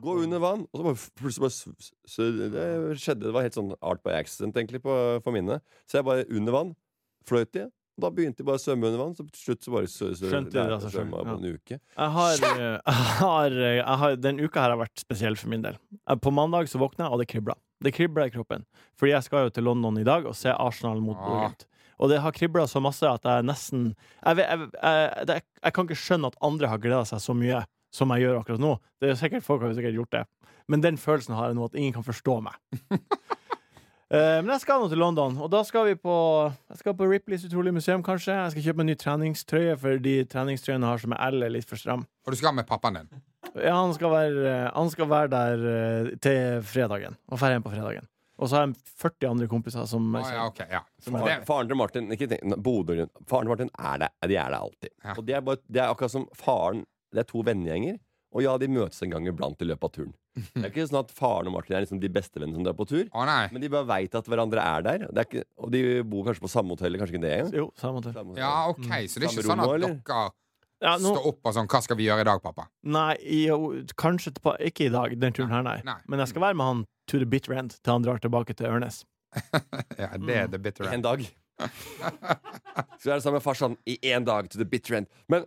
E: Gå under vann, og så bare f- plutselig bare s- s- s- Det skjedde, det var helt sånn art by accident, egentlig, på, for mine. Så jeg bare under vann, fløyt de, og da begynte de bare å svømme under vann, så til slutt så bare sø, sø,
B: Skjønte de det av seg selv,
E: svømma på en uke.
B: Jeg har, eh, jeg har, eh, jeg har Den uka her har vært spesiell for min del. Eh, På mandag så våkna jeg, og det kribla. Det kribla i kroppen. Fordi jeg skal jo til London i dag og se Arsenal mot Bournemouth. Og det har kribla så masse at jeg nesten jeg, vet- jeg, jeg, det- jeg kan ikke skjønne at andre har gleda seg så mye som jeg gjør akkurat nå. Det er jo sikkert Folk har jo sikkert gjort det. Men den følelsen har jeg nå, at ingen kan forstå meg. Eh, Men jeg skal nå til London, og da skal vi på Jeg skal på Ripleys utrolige museum, kanskje. Jeg skal kjøpe en ny treningstrøye, for de treningstrøyene jeg har som er L, er litt for stram.
D: Og du skal med pappaen din.
B: Ja, han skal være, han skal være der eh, til fredagen. Og drar hjem på fredagen. Og så har jeg 40 andre kompiser som
D: Å, Ah, ja, ok, ja.
E: Faren, faren til Martin ikke tenk, Bodø Faren til Martin er der, de er der alltid.
D: Ja.
E: Og det er, bare, det er akkurat som faren Det er to vennegjenger, og ja, de møtes en gang iblant i løpet av turen. Det er ikke sånn at faren og Martin er liksom de bestevennene som drar på tur,
D: Å nei.
E: men de bare veit at hverandre er der. Det er ikke, og de bor kanskje på samme hotell, kanskje ikke det engang.
B: Jo, samme til.
E: Samme hotell.
D: Ja, ok, Så det er ikke
E: Samme
D: sånn
E: rom
D: at
E: nå, eller?
D: dere
B: Ja, nå,
D: står opp og sånn 'Hva skal vi gjøre i dag, pappa?'
B: nei, jo, kanskje etterpå- ikke i dag, den turen her, nei.
D: Nei.
B: Men jeg skal være med han to the bit rent til han drar tilbake til Ørnes.
D: Ja, Det er the bitter
E: En
D: end.
E: dag. Så er det sammen med farsan i én dag to the bitter end. Men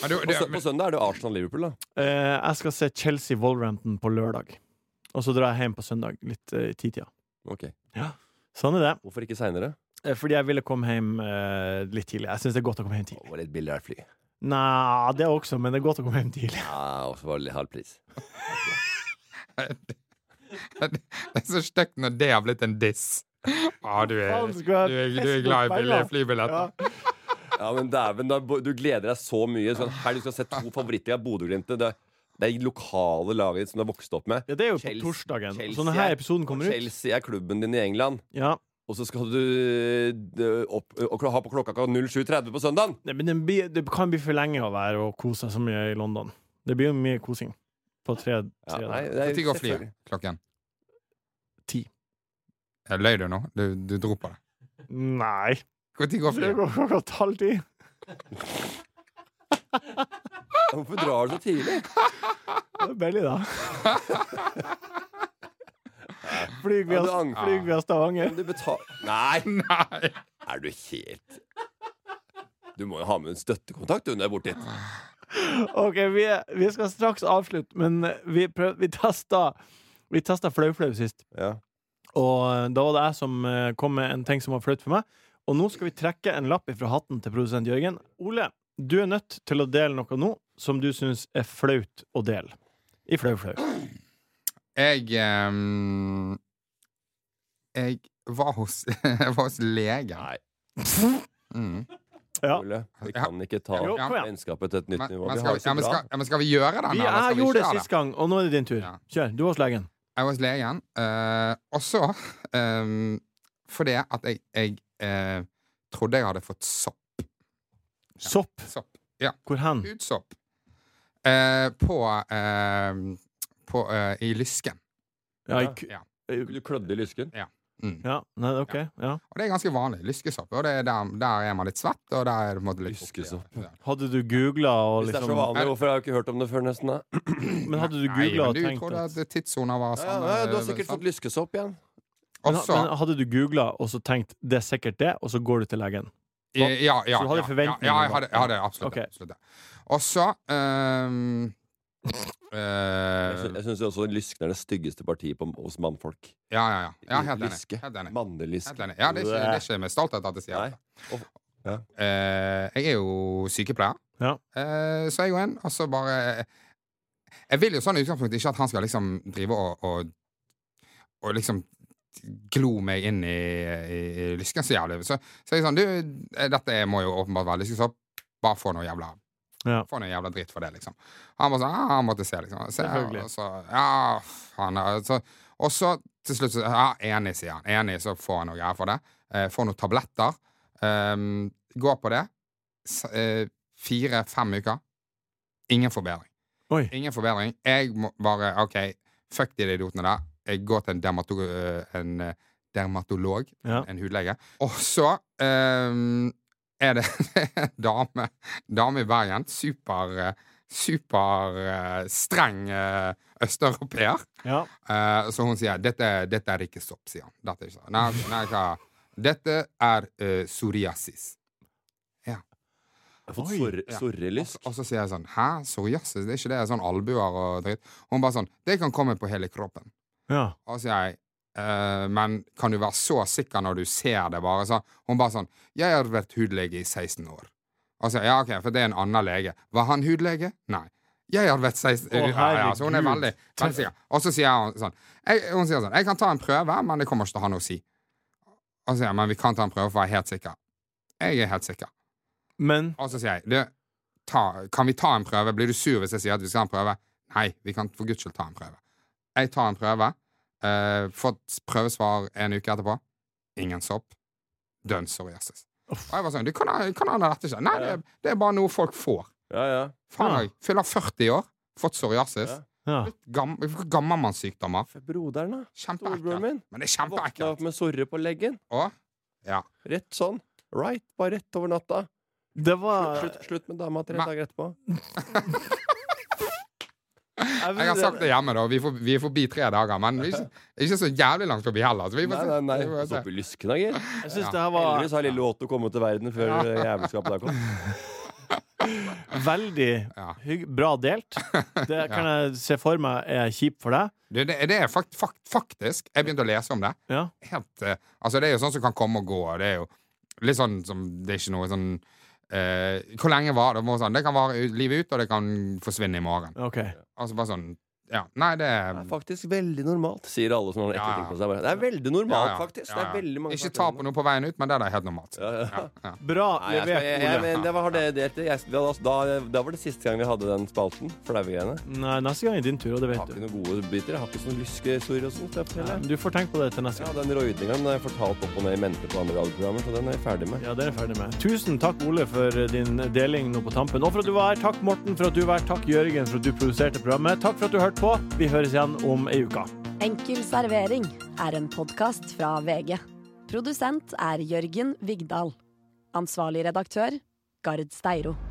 D: Men du,
E: på, sø
D: du,
E: på søndag er det Arsenal-Liverpool, da.
B: Eh, jeg skal se Chelsea Wolverhampton på lørdag. Og så drar jeg hjem på søndag, litt eh, i titida.
E: Ok,
B: Sånn er det.
E: Hvorfor ikke seinere?
B: Eh, Fordi jeg ville komme hjem eh, litt tidlig. Jeg syns det er godt å komme hjem
E: Det
B: tidlig.
E: var litt billigere fly.
B: Nei, det også, men det er godt å komme hjem tidlig.
E: Ja, og så var det litt halv pris.
D: det er så stygt når det har blitt en diss. Å, du er,
B: Faen,
D: du
B: skal jeg
D: er, du er
B: pisse
D: glad i
B: på
D: billige
B: penger?
D: flybilletter.
E: Ja, men dæven, da, bo- du gleder deg så mye. Sånn, her du skal se to favoritter av Bodø-Glimt. Det, det er lokale laget ditt som du har vokst opp med.
B: Ja, det er jo på
E: Chelsea-
B: torsdagen.
E: Chelsea
B: Så når her
E: er-
B: episoden kommer ut
E: Chelsea er klubben din i England.
B: Ja
E: Og så skal du eh, opp og kl- ha på klokka klokka 07.30 på søndagen!
B: Nei, men det, blir, det kan bli for lenge å være og kose seg så mye i London. Det blir jo mye kosing på tre,
E: Ja,
B: tre
E: nei,
B: dager.
E: det er-
D: Når går flyet?
E: selvfølgelig.
D: Klokken?
B: Ti.
D: Ja, Løy du nå? Du, du dro på det.
B: Nei.
D: Når går
B: Det
D: flyet?
B: går klokka halv ti.
E: Hvorfor drar du så tidlig?
B: Det er billig, da. Flyr
E: Ja,
B: via,
E: du angrer.
B: flyg via Stavanger.
E: Du betal... Nei!
D: Nei!
E: Er du helt Du må jo ha med en støttekontakt du, når du er borte dit.
B: OK, vi, er- vi skal straks avslutte, men eh, vi, prøv, vi testa Vi testa flau-flau sist.
E: Ja.
B: Og da var det jeg som eh, kom med en ting som var flaut for meg. Og nå skal vi trekke en lapp fra hatten til produsent Jørgen. Ole, du er nødt til å dele noe nå som du syns er flaut å dele. I flau, flau.
D: Jeg ehm, Jeg var hos, jeg var hos legen. Mm.
B: Ja.
E: Ole, vi kan ikke ta
B: Jo, kom igjen.
E: vennskapet til et nytt
D: Men,
E: nivå.
D: men,
E: Vi
D: skal,
E: har
D: vi-
E: det
D: ja,
E: så
D: men,
E: bra.
D: skal, ja, men skal vi gjøre den,
B: Vi,
D: eller skal
B: jeg
D: vi ikke
B: gjorde det
D: gjøre
B: sist gang, og nå er det din tur.
D: Ja.
B: Kjør. Du var hos legen.
D: Jeg var hos legen, eh, og så ehm, Fordi at jeg, jeg eh, trodde jeg hadde fått sopp.
B: Sopp.
D: sopp.
B: Hvor hen?
D: Hudsopp. Eh, på ehm, på, eh, I lysken.
B: Ja, i ku-
D: Ja.
E: Du klødde i lysken.
D: Mm.
B: ja. Nei, OK. Ja.
D: Og det er ganske vanlig. Lyskesopp. Og det er der, der er man litt svett, og der er det på en måte litt
E: Lyskesopp.
D: fuktig, ja.
B: Hadde du googla og
E: Hvis det er
B: liksom
E: så vanlig, hvorfor har jeg ikke hørt om det før, nesten? da?
B: Men hadde du
D: Nei,
B: googla
D: men
B: og
D: Du
B: tenkt
D: trodde
B: at
D: at tidssoner var
E: Ja,
D: sånn.
E: ja, ja, du har
D: eh,
E: sikkert
D: sånn.
E: fått lyskesopp igjen.
B: men,
D: Og så
B: men hadde du googlet og så tenkt 'det er sikkert det', og så går du til legen?
D: Ja, ja, ja,
B: Så du hadde
D: ja,
B: forventninger
D: Ja, jeg
B: da?
D: hadde, jeg hadde absolutt,
B: Ok.
D: det, absolutt det. Og så ehm,
E: Jeg
D: eh,
E: sy- Jeg syns også lysken er det styggeste partiet på, hos mannfolk.
D: Ja, ja, ja. ja helt,
E: Lyske.
D: enig. helt enig.
E: Mannelyske.
D: Helt enig. Ja, det er ikke, det er ikke med stolthet at jeg sier
E: Nei.
D: det.
E: Og-
D: Eh, jeg er jo sykepleier,
B: Ja.
D: Eh, så jeg er jo en, og så bare Jeg vil jo sånn i utgangspunktet ikke at han skal liksom drive og, og, og liksom glo meg inn i, i, i lysken så jævlig. Så, så jeg er sånn, du, dette må jo åpenbart være lysken, så bare få noe jævla
B: Ja.
D: Få noe jævla dritt for det, liksom. Han var sånn, ja, han måtte se, liksom. Se,
B: Selvfølgelig.
D: og så, ja, faen, ja, så, og så til slutt, så, ja, enig, sier han. Enig, så får han noe greier for det. Eh, får noen tabletter. Ehm, går på det. S eh, Fire-fem uker. Ingen forbedring.
B: Oi.
D: Ingen forbedring. Jeg må bare OK, fuck de idiotene der. Jeg går til en, dermato øh, en øh, dermatolog,
B: Ja.
D: en hudlege. Og så ehm, er det en dame, dame i Bergen. Super, øh, super øh, streng øh, østeuropeer.
B: Ja.
D: Eh, så hun sier dette, dette er ikke sopp, sier han. Dette er ikke sopp. Nei, nei, hva? Dette er eh, psoriasis.
E: Jeg har fått
B: Oi.
E: sorre-
D: Ja.
E: sorrelyst.
D: Og så sier jeg sånn Hæ, psoriasis? Det er ikke det? Sånn albuer og dritt. Hun bare sånn Det kan komme på hele kroppen.
B: Ja.
D: Og så sier jeg «Eh, Men kan du være så sikker når du ser det, bare? Så hun bare sånn Jeg har vært hudlege i 16 år. Og så sier jeg ja, OK, for det er en annen lege. Var han hudlege? Nei. Jeg har vært 16
B: Å,
D: ja, ja, Så hun er
B: herregud.
D: veldig, veldig sikker. Og så sier hun sånn jeg, Hun sier sånn Jeg kan ta en prøve, men det kommer ikke til å ha noe å si. Og så sier jeg Men vi kan ta en prøve for å være helt sikker. Jeg er helt sikker.
B: Men
D: Og så sier jeg du, ta, Kan vi ta en prøve? Blir du sur hvis jeg sier at vi skal ha en prøve? Nei, vi kan for guds skyld ta en prøve. Jeg tar en prøve. eh, fått prøvesvar en uke etterpå. Ingen sopp. Dønn psoriasis. Og jeg var sånn Du, kan han kan han ha dette ikke? Nei, det, er- det er bare noe folk får.
E: Ja, ja.
D: Faen,
B: Ja.
D: jeg fyller 40 år, fått psoriasis.
E: Ja.
B: ja.
D: Gam, Gammelmannssykdommer.
E: For Broderen, da. Storebroren
D: Kjempeekkelt.
E: min.
D: Men det er
E: Våkna opp
D: kjempeekkelt.
E: med sorre på leggen.
D: Og Ja.
E: Rett sånn. Right. Bare rett over natta.
B: Det var
E: Slutt, slutt med dama tre
D: Men-
E: dager etterpå.
D: Jeg har sagt det hjemme, da. Vi er for- vi er forbi tre dager. Men vi er ikke, ikke så jævlig langt forbi heller. Så vi får
E: Nei,
D: se.
E: nei, nei.
D: Vi får se.
E: Sopp i lysken, da, gitt.
B: Jeg syns det her
D: Ah.
B: var
E: Heldigvis har lille Otto kommet til verden før eh, jævelskapet der kom.
B: veldig
D: Ja.
B: hygg, bra delt. Det kan jeg se for meg er kjipt for deg.
D: Det, det, det er fakt, fakt, faktisk Jeg begynte å lese om det.
B: Ja.
D: Helt, eh, altså Det er jo sånn som kan komme og gå. og Det er jo litt sånn som Det er ikke noe sånn eh, Hvor lenge var det? Må Sånn, det kan vare ut- livet ut, og det kan forsvinne i morgen.
B: OK.
D: Altså bare sånn Ja. Nei, det
E: Det
D: er
E: er faktisk veldig normalt, sier alle som har ekle
D: Ja, ja.
E: ting på seg. Bare, Det er veldig normalt,
D: ja, ja.
E: faktisk. Det
D: Ja,
E: er
D: ja.
E: veldig mange
D: Ikke ta på noe på veien ut, men det er da helt normalt.
E: Ja, ja.
D: ja.
B: Bra
E: Nei, jeg, jeg, jeg,
B: levert, Ole.
E: men det var, det, det, det, jeg, da, da, da var det siste gang vi hadde den spalten, flaugegreiene.
B: Nei, neste gang er din tur, og det
E: Jeg har
B: vet du.
E: ikke noen gode biter. Jeg har ikke sånn lyskesorg og sånt. Jeg forteller.
B: Men Du får tenke på det til neste
E: Ja,
B: gang.
E: den røydningen har jeg fortalt opp og ned i mente på andre radioprogrammer, så den er jeg ferdig med.
B: Ja, det er jeg ferdig med. Tusen takk, Ole, for din deling nå på tampen. Og for at du var her. Takk, Morten, for at du var her. Takk, Jørgen, for at du produserte programmet. Takk for at du hørte på. Vi høres igjen om ei uke.
A: Enkel servering er en podkast fra VG. Produsent er Jørgen Vigdal. Ansvarlig redaktør Gard Steiro.